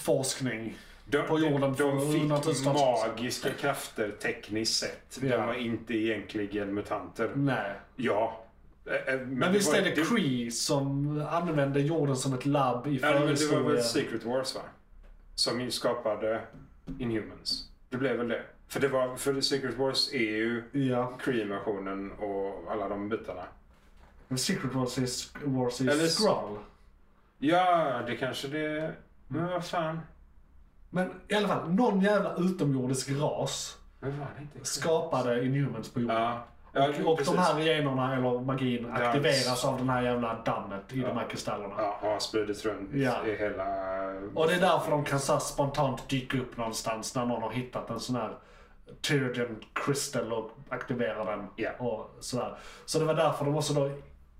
S1: krigforskning.
S3: De,
S1: På jorden
S3: de, de
S1: för
S3: fick
S1: hundratusentals år sedan.
S3: magiska krafter tekniskt sett.
S1: Ja.
S3: De var inte egentligen mutanter.
S1: Nej.
S3: Ja. Eh, eh, Men,
S1: Men
S3: det
S1: visst
S3: var-
S1: är det Cree som använde jorden som ett labb i
S3: Ja, men det var väl
S1: förhistorien?
S3: Secret Wars va? Som ju skapade Inhumans. Det blev väl det. För, det var, för Secret Wars är ju
S1: Ja.
S3: Kree-invasionen och alla de bitarna.
S1: Men Secret Wars is, Wars
S3: Eller
S1: is
S3: s-
S1: Skrull.
S3: Ja, det kanske det... Men vad fan?
S1: Men i alla fall, någon jävla utomjordisk ras
S3: Men var det inte?
S1: skapade Inhumans på jorden.
S3: Ja. ja
S1: och och
S3: precis.
S1: de här generna, eller magin,
S3: är-
S1: aktiveras av den här jävla dammet i de här kristallerna.
S3: Ja, har spridits runt
S1: Ja.
S3: i hela...
S1: Och det är därför de kan så här spontant dyka upp någonstans när någon har hittat en sån här Tyrion crystal och aktiverar den.
S3: Ja.
S1: Och sådär. Så det var därför de också då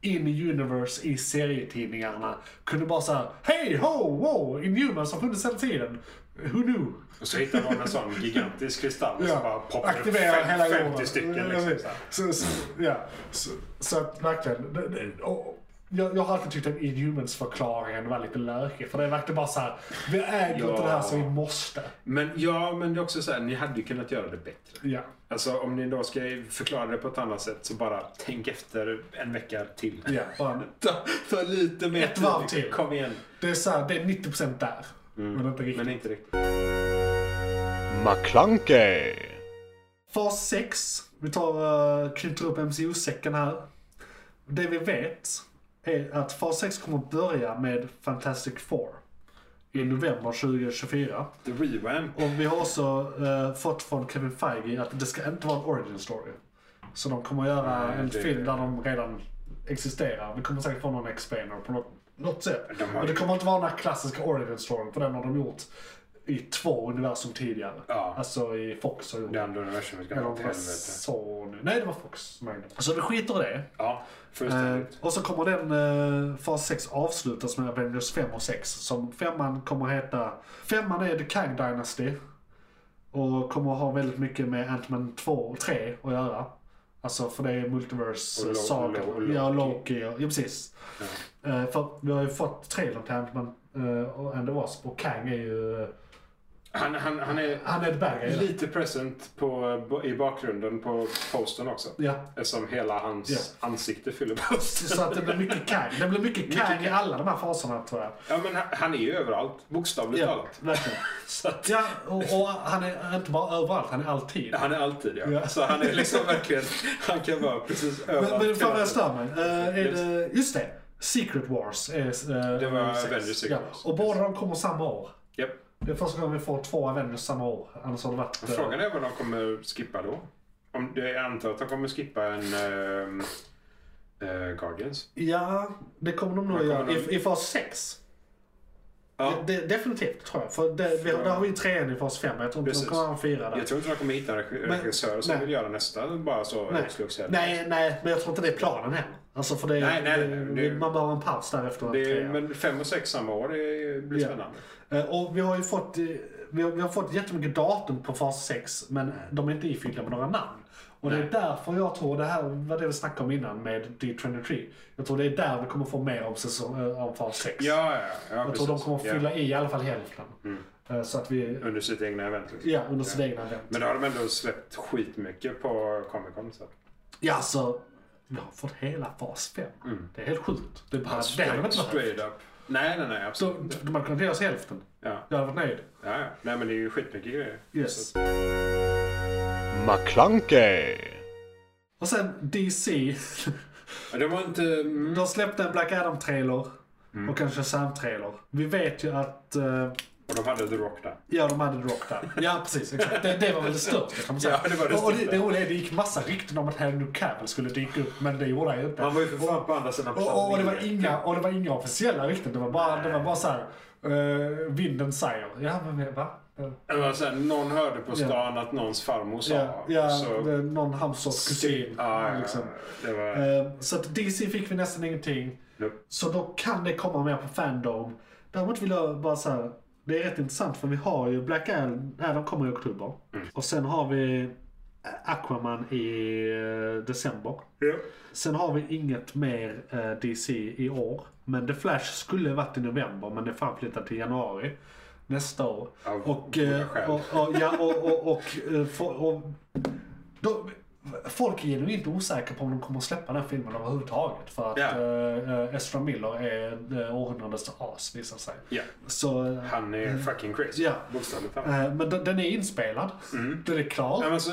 S1: in i universe i serietidningarna kunde bara såhär Hej ho wow! Inhumans har funnits hela tiden. Who knew?
S3: Och så hittar de en sån gigantisk kristall som bara poppar upp
S1: Aktiverar
S3: fem,
S1: hela
S3: 50
S1: jorden.
S3: stycken.
S1: Ja,
S3: Liksom, så här.
S1: så, så, ja. så, så att verkligen. Det, det, och, jag, jag har alltid tyckt att Inhumans-förklaringen var lite lökig. För det verkade bara såhär, vi äger inte
S3: Ja.
S1: det här så vi måste.
S3: Men ja, men det är också så här, ni hade ju kunnat göra det bättre.
S1: Ja.
S3: Alltså om ni då ska förklara det på ett annat sätt så bara tänk efter en vecka till.
S1: Ja, bara,
S3: Ta, ta lite mer
S1: Ett varv till.
S3: Kom igen.
S1: det är så här, det är 90% där. Men inte riktigt.
S3: Mm. Men inte riktigt.
S4: McClunkey.
S1: Fas 6. Vi tar, uh, knyter upp MCU-säcken här. Det vi vet är att fas 6 kommer att börja med Fantastic Four. I november 2024.
S3: The revamp.
S1: Och vi har också eh, fått från Kevin Feige att det ska inte vara en origin story. Så de kommer att göra
S3: Nej,
S1: en
S3: det-
S1: film där de redan existerar. Vi kommer säkert få någon explainer på något, något sätt.
S3: De har
S1: Men det
S3: ju-
S1: kommer inte vara den här klassiska origin storyn för den har de gjort i två universum tidigare.
S3: Ja.
S1: Alltså i Fox har gjort
S3: Det andra universumet
S1: Eller
S3: kan
S1: om
S3: gå
S1: det
S3: till
S1: var
S3: helvete.
S1: Sony. Nej, det var Fox. som ägde det. Så vi skiter i det.
S3: Ja,
S1: Eh,
S3: fullständigt.
S1: och så kommer den eh, fas 6 avslutas med Avengers 5 och 6. Som femman kommer heta... Femman är The Kang Dynasty. Och kommer ha väldigt mycket med Ant-Man 2 och 3 att göra. Alltså för det är multiverse
S3: Och
S1: eh,
S3: Lo-
S1: saga.
S3: Lo- Loki.
S1: Ja, Loki. och- Ja, precis. Eh, för vi har ju fått trailern till Ant-Man eh, och and the Wasp. Och Kang är ju... eh,
S3: Han, han, han är
S1: Han är ett bad guy. eller?
S3: lite present på, i bakgrunden på posten också.
S1: Ja.
S3: Eftersom hela hans
S1: Ja.
S3: ansikte fyller posten.
S1: Så att det blir mycket Kang. Det blir mycket Kang i
S3: Kang.
S1: alla de här faserna tror jag.
S3: Ja, men han, han är ju överallt. Bokstavligt
S1: Ja,
S3: talat.
S1: verkligen.
S3: Så att,
S1: Ja, och, och han är inte bara överallt, han är alltid.
S3: Han är alltid ja.
S1: Ja.
S3: Så han är liksom verkligen, han kan vara precis överallt.
S1: Men, men fan vad jag
S3: hela
S1: stör mig. Eh, är det, just det. Secret Wars är... eh,
S3: Det var
S1: nummer sex.
S3: Avengers Secret Wars.
S1: Och båda de kommer samma år.
S3: Japp.
S1: Det är första gången vi får två Avengers samma år. Annars har det varit... eh,
S3: Frågan är vad de kommer skippa då. Om, jag antar att de kommer skippa en ehm, eh, Guardians.
S1: Ja, det kommer de nog
S3: Vad kommer
S1: göra. I,
S3: de-
S1: I fas 6.
S3: Ja.
S1: Det, definitivt tror jag. För det, vi, har- där har vi ju trean i fas 5. Jag tror inte
S3: Precis.
S1: de kommer ha en fyra där.
S3: Jag tror inte de kommer hitta en reg-
S1: Men-
S3: regissör som
S1: nej.
S3: vill göra nästa bara så
S1: Nej.
S3: hux flux heller.
S1: nej, nej, men jag tror inte det är planen heller. Alltså för det,
S3: Nej, nej, nej, det-
S1: man behöver en paus där efter
S3: Det är,
S1: trean.
S3: men fem och sex samma år det blir
S1: Ja.
S3: spännande.
S1: Eh, Och vi har ju fått, eh, vi, har, vi har fått jättemycket datum på fas 6 men de är inte ifyllda med några namn. Och det är
S3: Nej.
S1: därför jag tror, det här var det vi snackade om innan med D23. Jag tror det är där vi kommer få mer om, säsong, eh, om fas 6.
S3: Ja, ja, ja.
S1: jag
S3: precis.
S1: tror de kommer
S3: Ja. Mm.
S1: fylla i i alla fall hälften. Eh, Så att vi,
S3: Under sitt egna event. Liksom.
S1: ja, under sina egna event.
S3: Men då har de ändå släppt skitmycket på Comic Con. Så.
S1: Ja, så vi har fått hela fas 5.
S3: Mm.
S1: Det är helt sjukt. Det är bara, det hade man
S3: Straight,
S1: inte behövt.
S3: straight up. Nej, nej, nej.
S1: Så
S3: Absolut inte.
S1: de hade kunnat ge oss hälften.
S3: Ja.
S1: Jag hade varit nöjd.
S3: Ja, ja. Nej, men det är ju skitmycket grejer.
S1: Yes.
S4: McClunkey.
S1: Och sen DC.
S3: Ja, De har inte... Mm,
S1: De släppte en Black Adam-trailer och en Shazam-trailer. Vi vet ju att... eh,
S3: och de hade The Rock där.
S1: ja, de hade Rock där. Ja, precis. Exakt. Det, det var väl det största kan man säga.
S3: Ja, det var det
S1: och det,
S3: största.
S1: det roliga är att det gick massa rykten om att Henry Cavill skulle dyka upp, men det gjorde han ju inte.
S3: Han var ju för fan på andra sidan
S1: Och, och, det var
S3: planeten.
S1: inga, och det var inga officiella rykten. Det var bara, det var bara så här... eh, vinden säger. Ja, men va? Eh,
S3: Det var så här, någon hörde på stan att någons farmor sa.
S1: Ja, ja
S3: så,
S1: det är någon Hamsås kusin.
S3: ja, ja,
S1: liksom.
S3: det var...
S1: Eh, Så att DC fick vi nästan ingenting.
S3: Nope.
S1: Så då kan det komma mer på Fandom. Däremot vill jag bara säga, det är rätt intressant för vi har ju Black Adam, nej, de kommer i oktober. Och sen har vi Aquaman i eh, december. Sen har vi inget mer eh, DC i år. Men The Flash skulle ha varit i november men det är framflyttat till januari nästa år.
S3: Av
S1: och,
S3: goda
S1: eh,
S3: skäl.
S1: och, och, ja, och, och, och, eh, fo- och de, Folk är ju inte osäkra på om de kommer att släppa den här filmen överhuvudtaget. För att
S3: Ja.
S1: yeah. Ezra Miller är eh, århundradets as visar sig.
S3: Ja.
S1: Så, eh,
S3: Han är fucking crazy.
S1: Ja.
S3: Bokstavligt talat.
S1: eh, men den, den är inspelad.
S3: Mm.
S1: Den är klar.
S3: Nej, men så,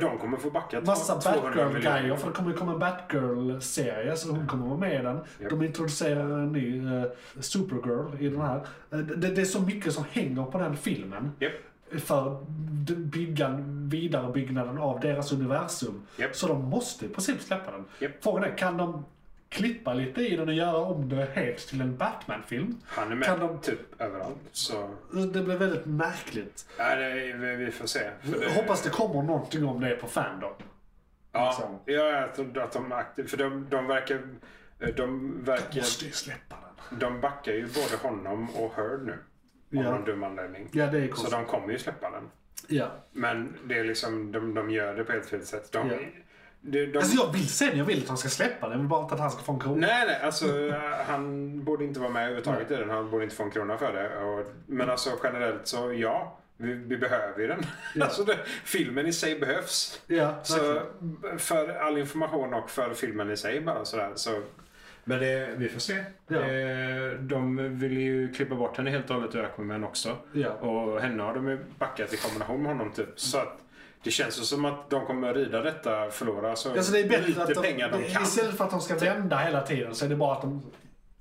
S3: de kommer få backa
S1: Massa
S3: 200 miljoner.
S1: Batgirl-grejer, för det kommer ju komma en Batgirl-serie, så hon kommer vara med i den. De introducerar en ny eh, Supergirl i den här. Eh, det, det är så mycket som hänger på den filmen.
S3: Japp.
S1: För d- byggan, vidarebyggnaden av deras universum.
S3: Japp.
S1: Så de måste i princip släppa den.
S3: Japp.
S1: Frågan är, kan de klippa lite i den och göra om det helt till en Batman-film?
S3: Han är med
S1: Kan de-
S3: typ överallt. Så,
S1: Eh, Det blir väldigt märkligt.
S3: ja, det, vi, vi får se. För det-
S1: Jag hoppas det kommer någonting om det på Fandom.
S3: Ja,
S1: Liksom.
S3: ja, jag tror att de är aktiva. För de, de verkar... De verkar...
S1: Måste ju släppa den.
S3: De backar ju både honom och Heard nu. Av
S1: Ja.
S3: någon dum anledning.
S1: Ja, det är
S3: Så
S1: konstigt.
S3: de kommer ju släppa den.
S1: Ja.
S3: Men det är liksom, de, de gör det på helt fel sätt. De,
S1: Ja.
S3: de, de,
S1: Alltså jag vill sen, jag vill att han ska släppa den. Jag vill bara inte att han ska få en krona.
S3: Nej, nej. Alltså, eh, han borde inte vara med överhuvudtaget i den. Han borde inte få en krona för det. Och, men alltså generellt så, ja. Vi, vi behöver ju den. Alltså, det, filmen i sig behövs.
S1: Ja,
S3: Så Alltså, för all information och för filmen i sig bara sådär. Så. Men det, vi får se.
S1: Ja.
S3: Eh, De vill ju klippa bort henne helt och hållet ur Aquaman också.
S1: Ja.
S3: Och henne har de ju backat i kombination med honom typ. Så att det känns ju som att de kommer rida detta förlora så
S1: Alltså det är bättre
S3: lite
S1: att de,
S3: pengar de
S1: det-
S3: kan.
S1: Istället för att de ska vända hela tiden så är det bara att de...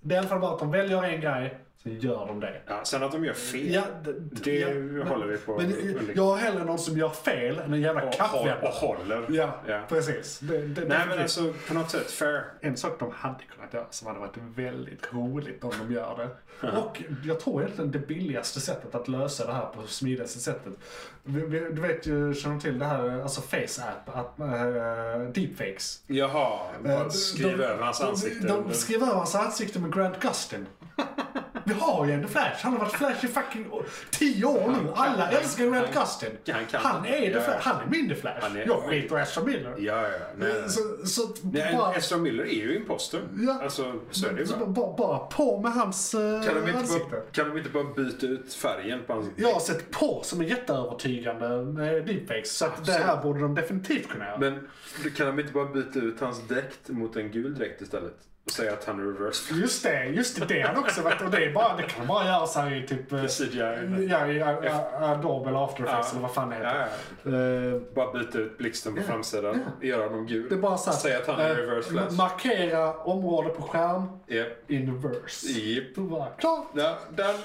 S1: Det är i alla fall bara att de väljer en grej, sen gör de det.
S3: Ja, sen att de gör fel.
S1: Ja, d-
S3: det
S1: ja,
S3: håller vi på
S1: Men
S3: att undvika.
S1: jag har hellre någon som gör fel än en jävla
S3: och, håll, och
S1: kappvändare.
S3: håller.
S1: Ja,
S3: Ja.
S1: precis. Det, det,
S3: Nej
S1: definitivt.
S3: men alltså på något sätt fair.
S1: En sak de hade kunnat göra som hade varit väldigt roligt om de gör det. Och jag tror egentligen det billigaste sättet att lösa det här på smidigaste sättet. Vi- vi- Du vet ju, känner du till det här, alltså face-app, att, eh, deepfakes.
S3: Jaha,
S1: Eh,
S3: bara skriv
S1: de-
S3: över hans
S1: de-
S3: ansikte.
S1: De, de skrev över hans ansikte med Grant Gustin. Vi har ju ändå Flash. Han har varit Flash i fucking å- tio år nu. Alla älskar Grant Gustin.
S3: han kan-
S1: Han är,
S3: ja,
S1: the
S3: ja.
S1: Flash. han är min The Flash.
S3: Han är-
S1: jag skiter i Ezra Miller.
S3: Ja, ja, nej. nej.
S1: Så, så att
S3: Nej,
S1: bara-
S3: Ezra Miller är ju imposter.
S1: Ja.
S3: Alltså, så är det ju
S1: Så
S3: bara.
S1: bara, bara på med hans eh,
S3: Kan de, inte
S1: ansikte.
S3: bara, kan de inte bara byta ut färgen på hans...
S1: Jag har sett på som är jätteövertygande eh, deepfakes. Så att det här borde de definitivt kunna göra.
S3: Men kan de inte bara byta ut hans dräkt mot en gul dräkt istället? Och säga att han är reverse
S1: Just det, just det. Det har de också varit. Och det, är bara, det kan de bara göra så här i typ... eh,
S3: CGI?
S1: Ja, i A- A- Adobe eller After Effects eller vad fan det
S3: Ja,
S1: heter.
S3: ja.
S1: Eh,
S3: Bara byta ut blixten på framsidan, göra honom gul.
S1: Det är bara så här,
S3: Säga att han är
S1: eh,
S3: reverse flash.
S1: Markera område på skärm.
S3: Japp.
S1: Inverse.
S3: Japp.
S1: Då bara, klart.
S3: Ja, den...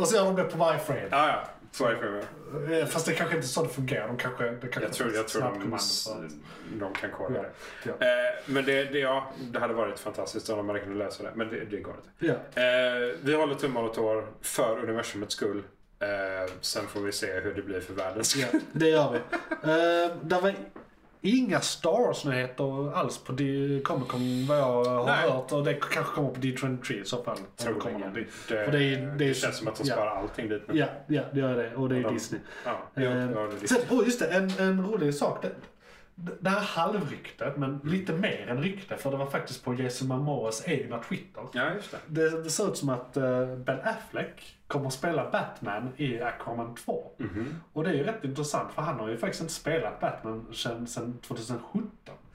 S1: Och så gör de det på varje frame.
S3: Ja, ja. Sorry för mig.
S1: Eh, Fast det kanske inte är så det fungerar. De kanske, det kanske
S3: Jag tror, jag tror
S1: snabbt
S3: de,
S1: kommando för-
S3: de kan kolla
S1: Ja,
S3: det.
S1: ja.
S3: Eh, men det, det, ja, det hade varit fantastiskt om de hade kunnat lösa det. Men det, det går inte.
S1: Ja.
S3: Eh, vi håller tummar och tår för universumets skull. Eh, sen får vi se hur det blir för världens skull.
S1: Ja, det gör vi. Eh, där var Inga Stars-nyheter alls på D- Comic Con vad jag har
S3: Nej.
S1: hört. Och det kanske kommer på D23 i så fall. om det kommer
S3: Troligen.
S1: någonting.
S3: Det,
S1: För det är- det är-
S3: det känns som att de
S1: ja.
S3: sparar allting dit nu.
S1: Ja, ja, det gör det. Och det är
S3: de-
S1: Disney.
S3: Ja, jo,
S1: Eh,
S3: ja, det är
S1: sen,
S3: Disney.
S1: oh, just det, en, en rolig sak. Det, det här halvryktet, men lite mer än rykte, för det var faktiskt på Jason Momoas egna Twitter.
S3: ja, just det.
S1: Det, det ser ut som att eh, Ben Affleck kommer att spela Batman i Aquaman 2.
S3: Mhm.
S1: Och det är ju rätt intressant för han har ju faktiskt inte spelat Batman sedan, sedan 2017.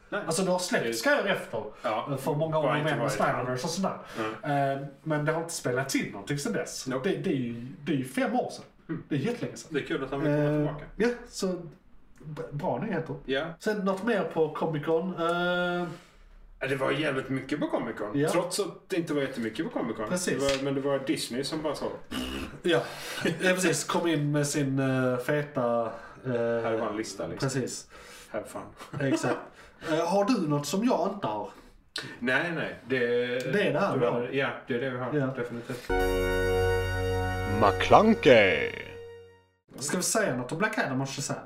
S3: Nej.
S1: Alltså det har släppts grejer efter.
S3: Ja.
S1: eh, För många
S3: Bara
S1: år
S3: inte
S1: med med
S3: varit
S1: Steiners och sådär. Eh, men det har inte spelats in någonting sedan dess.
S3: Nope. Mm.
S1: Det, det, är ju, det är ju fem år sedan. Det är jättelänge sedan.
S3: Det är kul att han vill komma
S1: Eh,
S3: tillbaka.
S1: Ja, så b- bra nyheter.
S3: Ja.
S1: Sen något mer på Comic Con. Eh,
S3: Ja, Det var jävligt mycket på Comic Con.
S1: Ja.
S3: Trots att det inte var jättemycket på Comic Con.
S1: Precis.
S3: Det var, men det var Disney som bara sa
S1: Ja, ja precis. Kom in med sin eh, feta... eh,
S3: här var en lista liksom.
S1: Precis,
S3: Have fun.
S1: exakt. Eh, har du något som jag inte har?
S3: Nej, nej. Det,
S1: Det är det här vi har.
S3: Ja, det är det vi har.
S1: Ja.
S3: Definitivt.
S4: McClunkey.
S1: Ska vi säga något om Black Adam och Shazam?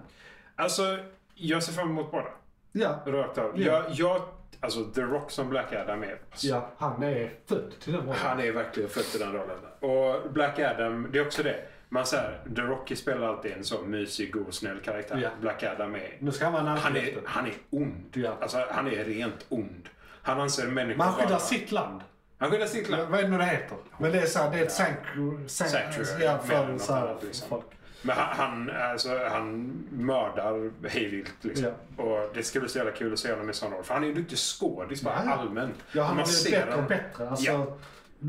S3: Alltså, jag ser fram emot båda.
S1: Ja.
S3: Rakt av.
S1: Ja.
S3: Jag, jag, alltså, The Rock som Black Adam är. Alltså,
S1: ja, han är född till den rollen.
S3: Han är verkligen född till den rollen. Och Black Adam, det är också det. Man säger, The Rock spelar alltid en så mysig, god, snäll karaktär.
S1: Ja.
S3: Black Adam är...
S1: Nu ska han vara en
S3: Han är,
S1: antikristen.
S3: han är ond.
S1: Ja.
S3: Alltså, han är rent ond. Han anser människor
S1: Men han skyddar
S3: vara-
S1: sitt land.
S3: Han skyddar sitt land.
S1: Vad är det nu det heter? Men det är så här, det är ett sanctuary.
S3: Sanctuary,
S1: Ja,
S3: mer än
S1: för
S3: något
S1: så här,
S3: annat, liksom.
S1: folk.
S3: Men han, han, alltså, han mördar hejvilt. Liksom. Och det ska bli så jävla kul att se honom i sån roll. För han är ju en duktig skådis bara
S1: Ja.
S3: allmänt.
S1: Ja, han har
S3: Man
S1: blivit
S3: ser
S1: bättre
S3: honom.
S1: och bättre. Alltså,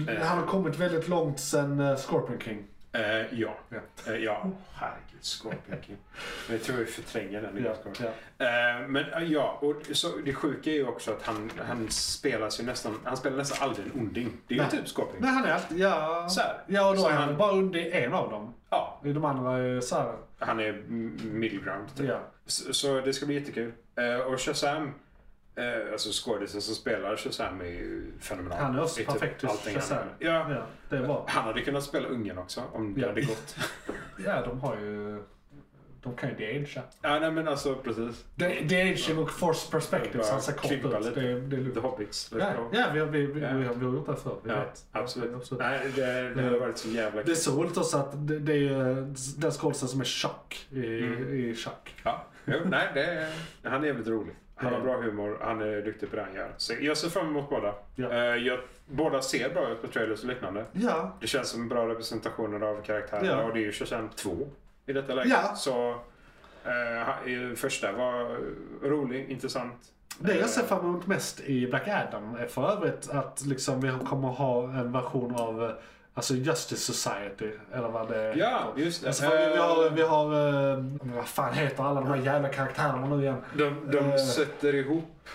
S3: Ja.
S1: Han har kommit väldigt långt sen eh, Scorpion King.
S3: Eh, ja.
S1: Ja.
S3: Eh, ja. Herregud, Scorpion King. Men jag tror vi förtränger den.
S1: Ja,
S3: Ja. Eh, men eh, ja, och så, det sjuka är ju också att han, han spelas ju nästan, han spelar nästan aldrig en onding. Det är ju
S1: Nej.
S3: typ Scorpion
S1: Nej, han är alltid... Ja,
S3: Så här.
S1: ja och då
S3: Så
S1: är han,
S3: han-
S1: bara under en av dem.
S3: Ja,
S1: De andra eh, är så här...
S3: han är m- middle ground. Typ.
S1: Ja.
S3: Så, så det ska bli jättekul. Eh, och Shazam, eh, alltså skådisen som spelar Shazam är ju fenomenal.
S1: Han är
S3: I
S1: också perfekt till
S3: allting han
S1: Shazam.
S3: gör. Ja.
S1: ja, det är bra.
S3: Han hade kunnat spela ungen också om det
S1: Ja.
S3: hade gått.
S1: Ja, de har ju... De kan ju de-agea.
S3: ja, nej men alltså precis.
S1: De- De-aging och force perspective, så han ser kort ut.
S3: Klippa lite.
S1: Det, är- det är
S3: The
S1: lugnt.
S3: Hobbits. let's
S1: Ja,
S3: go.
S1: ja, vi, har- vi, vi,
S3: Ja.
S1: vi, har- vi har gjort det förr. Vi
S3: Ja,
S1: vet.
S3: absolut.
S1: Ja,
S3: Nej, det, det hade varit så jävla
S1: Det är
S3: kul.
S1: så roligt också att det, det är ju eh, den skådisen som är Chuck i,
S3: Mm.
S1: i Chuck.
S3: Ja. Jo, nej, det, han är jävligt rolig. Han har bra humor, han är duktig på det han gör. Så jag ser fram emot båda.
S1: Ja.
S3: Eh, jag, båda ser bra ut på trailers och liknande.
S1: Ja,
S3: Det känns som bra representationer av karaktärerna
S1: Ja.
S3: och det är ju Shazam 2 i detta läget.
S1: Ja.
S3: Så eh, ha- eh, första var eh, rolig, intressant.
S1: Det jag ser
S3: Eh,
S1: fram emot mest i Black Adam är för övrigt att liksom vi kommer ha en version av eh, alltså Justice Society, eller vad det är.
S3: Ja, just det.
S1: Alltså, för vi har, vi har eh, men vad fan heter alla de här jävla karaktärerna nu igen?
S3: De, de
S1: eh,
S3: sätter ihop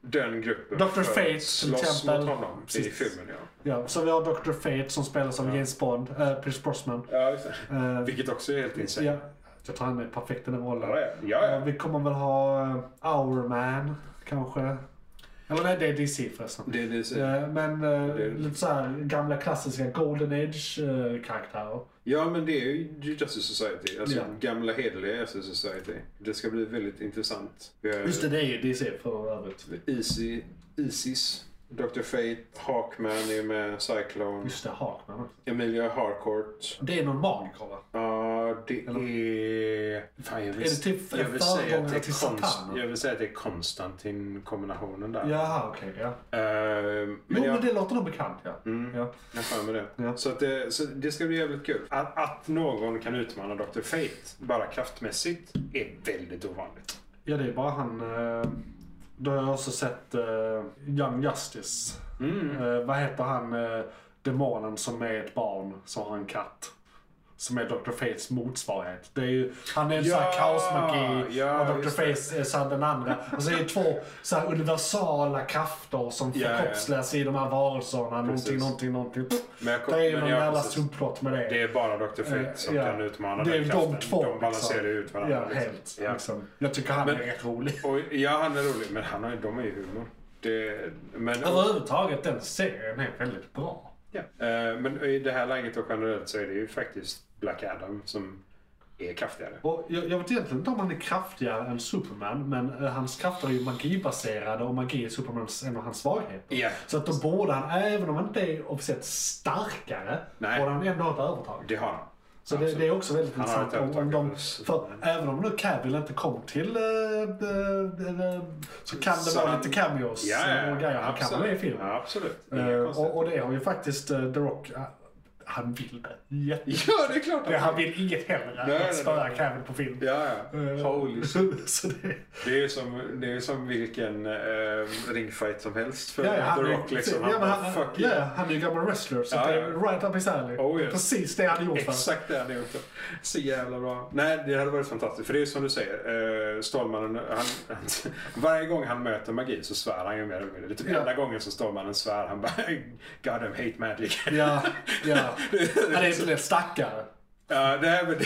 S3: den gruppen
S1: Dr.
S3: för att
S1: Fate, till
S3: slåss mot
S1: exempel.
S3: honom i
S1: Precis.
S3: filmen. Ja.
S1: Ja, så vi har Dr. Fate som spelas av James Bond, eh, Pierce Brosnan.
S3: Ja, just det.
S1: Eh,
S3: Vilket också är helt insane.
S1: ja, jag tror han är perfekt i den rollen.
S3: Ja, ja.
S1: Eh, vi kommer väl ha eh, Hourman, kanske. Eller nej, det är DC förresten.
S3: Det, det, är så-
S1: Eh, Men eh,
S3: Det-
S1: lite så här gamla klassiska Golden eh, Age-karaktärer.
S3: ja, men det är ju Justice Society. Alltså
S1: Ja.
S3: gamla hederliga Justice Society. Det ska bli väldigt intressant. Vi har-
S1: Just det, det är ju DC för övrigt.
S3: Easy, Isis, Dr. Fate, Hawkman är med, Cyclone,
S1: Just det, Harkman också.
S3: Emilia Harcourt.
S1: Det är någon magiker va?
S3: Ja, det är... Fan, jag vill,
S1: Är det typ
S3: jag vill säga att det
S1: förgångare
S3: är
S1: till
S3: konst,
S1: Satan?
S3: Jag vill säga att det är Konstantin-kombinationen där.
S1: Jaha, okej. ja.
S3: Ehm,
S1: Jo,
S3: men Mm. jag,
S1: men Mm. det låter nog bekant ja. ja.
S3: jag har med det.
S1: Ja.
S3: Så, att det, så det ska bli jävligt kul. Att, att någon kan utmana Dr. Fate, bara kraftmässigt, är väldigt ovanligt.
S1: Ja, det är bara han... Eh, då har jag också sett eh, Young Justice.
S3: Mm.
S1: Eh, vad heter han, eh, demonen som är ett barn, som har en katt? Som är Dr. Fates motsvarighet. Det är ju, han är en
S3: Ja,
S1: sån här kaosmagi
S3: ja,
S1: och Dr.
S3: just
S1: Fate är så här den andra. Och så är det två så här universala krafter som
S3: Ja, ja.
S1: förkroppsligas i de här varelserna. Någonting,
S3: Precis.
S1: någonting, någonting.
S3: Men jag kom-
S1: det är ju
S3: men
S1: någon
S3: jag-
S1: jävla
S3: precis.
S1: subplott med det.
S3: Det är bara Dr. Fate
S1: Eh,
S3: som
S1: ja.
S3: kan utmana
S1: Det är
S3: den
S1: ju
S3: kraften.
S1: de två.
S3: de balanserar
S1: liksom.
S3: ut varandra.
S1: Ja,
S3: liksom.
S1: helt.
S3: Ja.
S1: Liksom. Jag tycker han
S3: Men-
S1: är rätt rolig.
S3: Och, ja, han är rolig, men han har, ju- de har ju humor. Det, men,
S1: Alltså. Överhuvudtaget, den serien är väldigt bra.
S3: ja. Eh, men i det här läget och generellt så är det ju faktiskt Black Adam som är kraftigare.
S1: Och jag, jag vet egentligen inte om han är kraftigare än Superman, men eh, hans krafter är ju magibaserade och magi är Supermans, en av hans svagheter.
S3: Ja.
S1: Så att då borde han, även om han inte är officiellt starkare,
S3: Nej.
S1: borde han ändå ha ett övertag.
S3: Det har han.
S1: Så det, det är också väldigt
S3: Han har
S1: intressant.
S3: ett
S1: Om, om de,
S3: övertag.
S1: för även om nu Cavill inte kom till eh, eh, eh, så kan det
S3: Så
S1: vara
S3: han-
S1: lite cameos eh,
S3: Ja, ja,
S1: och grejer han kan vara med i filmen.
S3: Ja, absolut. Inga
S1: Eh,
S3: konstigheter.
S1: och, och det har ju faktiskt eh, The Rock, eh, han vill det jättemycket.
S3: Ja, det är klart. att-
S1: Han vill inget hellre
S3: Nej,
S1: än
S3: nej,
S1: att spöa
S3: nej.
S1: Cavill på film.
S3: Ja, ja.
S1: Eh,
S3: Holy shit.
S1: så det,
S3: Det är som, det är som vilken eh, ringfight som helst för
S1: ja, ja,
S3: The
S1: han,
S3: Rock. Liksom. Han
S1: ja, men
S3: bara,
S1: han,
S3: fuck
S1: ja,
S3: yeah.
S1: ja, han är ju gammal wrestler, så
S3: Ja,
S1: det
S3: ja.
S1: är right up his alley.
S3: Oh, yes.
S1: Precis det han gjort. va?
S3: Exakt det han gjort. Så jävla bra. Nej, det hade varit fantastiskt. För det är som du säger, eh, Stålmannen, han, han, varje gång han möter magi så svär han ju mer eller mindre. Det är typ
S1: Ja.
S3: enda gången som Stålmannen svär. Han bara, God damn hate magic.
S1: Ja, ja. Han är
S3: så-
S1: inte en stackare.
S3: Ja, det här, men det,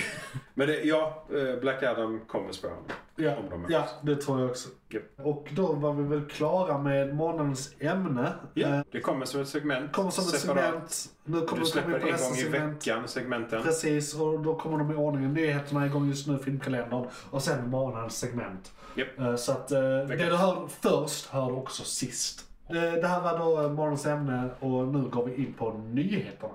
S3: men det, ja, eh, Black Adam kommer spöa honom.
S1: Ja,
S3: Om de möts.
S1: ja, det tror jag också.
S3: Japp.
S1: Och då var vi väl klara med månadens ämne. Eh,
S3: Ja, det kommer som ett segment.
S1: Kommer som ett
S3: separat.
S1: segment. Nu kommer
S3: Du
S1: vi komma
S3: släpper
S1: in på
S3: en
S1: nästa
S3: gång i
S1: segment.
S3: veckan segmenten.
S1: Precis, och då kommer de i ordningen. Nyheterna är igång just nu, filmkalendern. Och sen månadens segment.
S3: Japp.
S1: Eh, Så att eh, det du hör först hör du också sist. Eh, Det här var då eh, morgonens ämne och nu går vi in på nyheterna.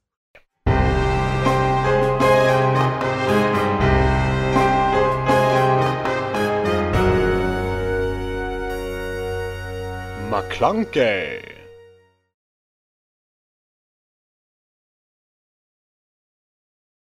S4: McClunkey.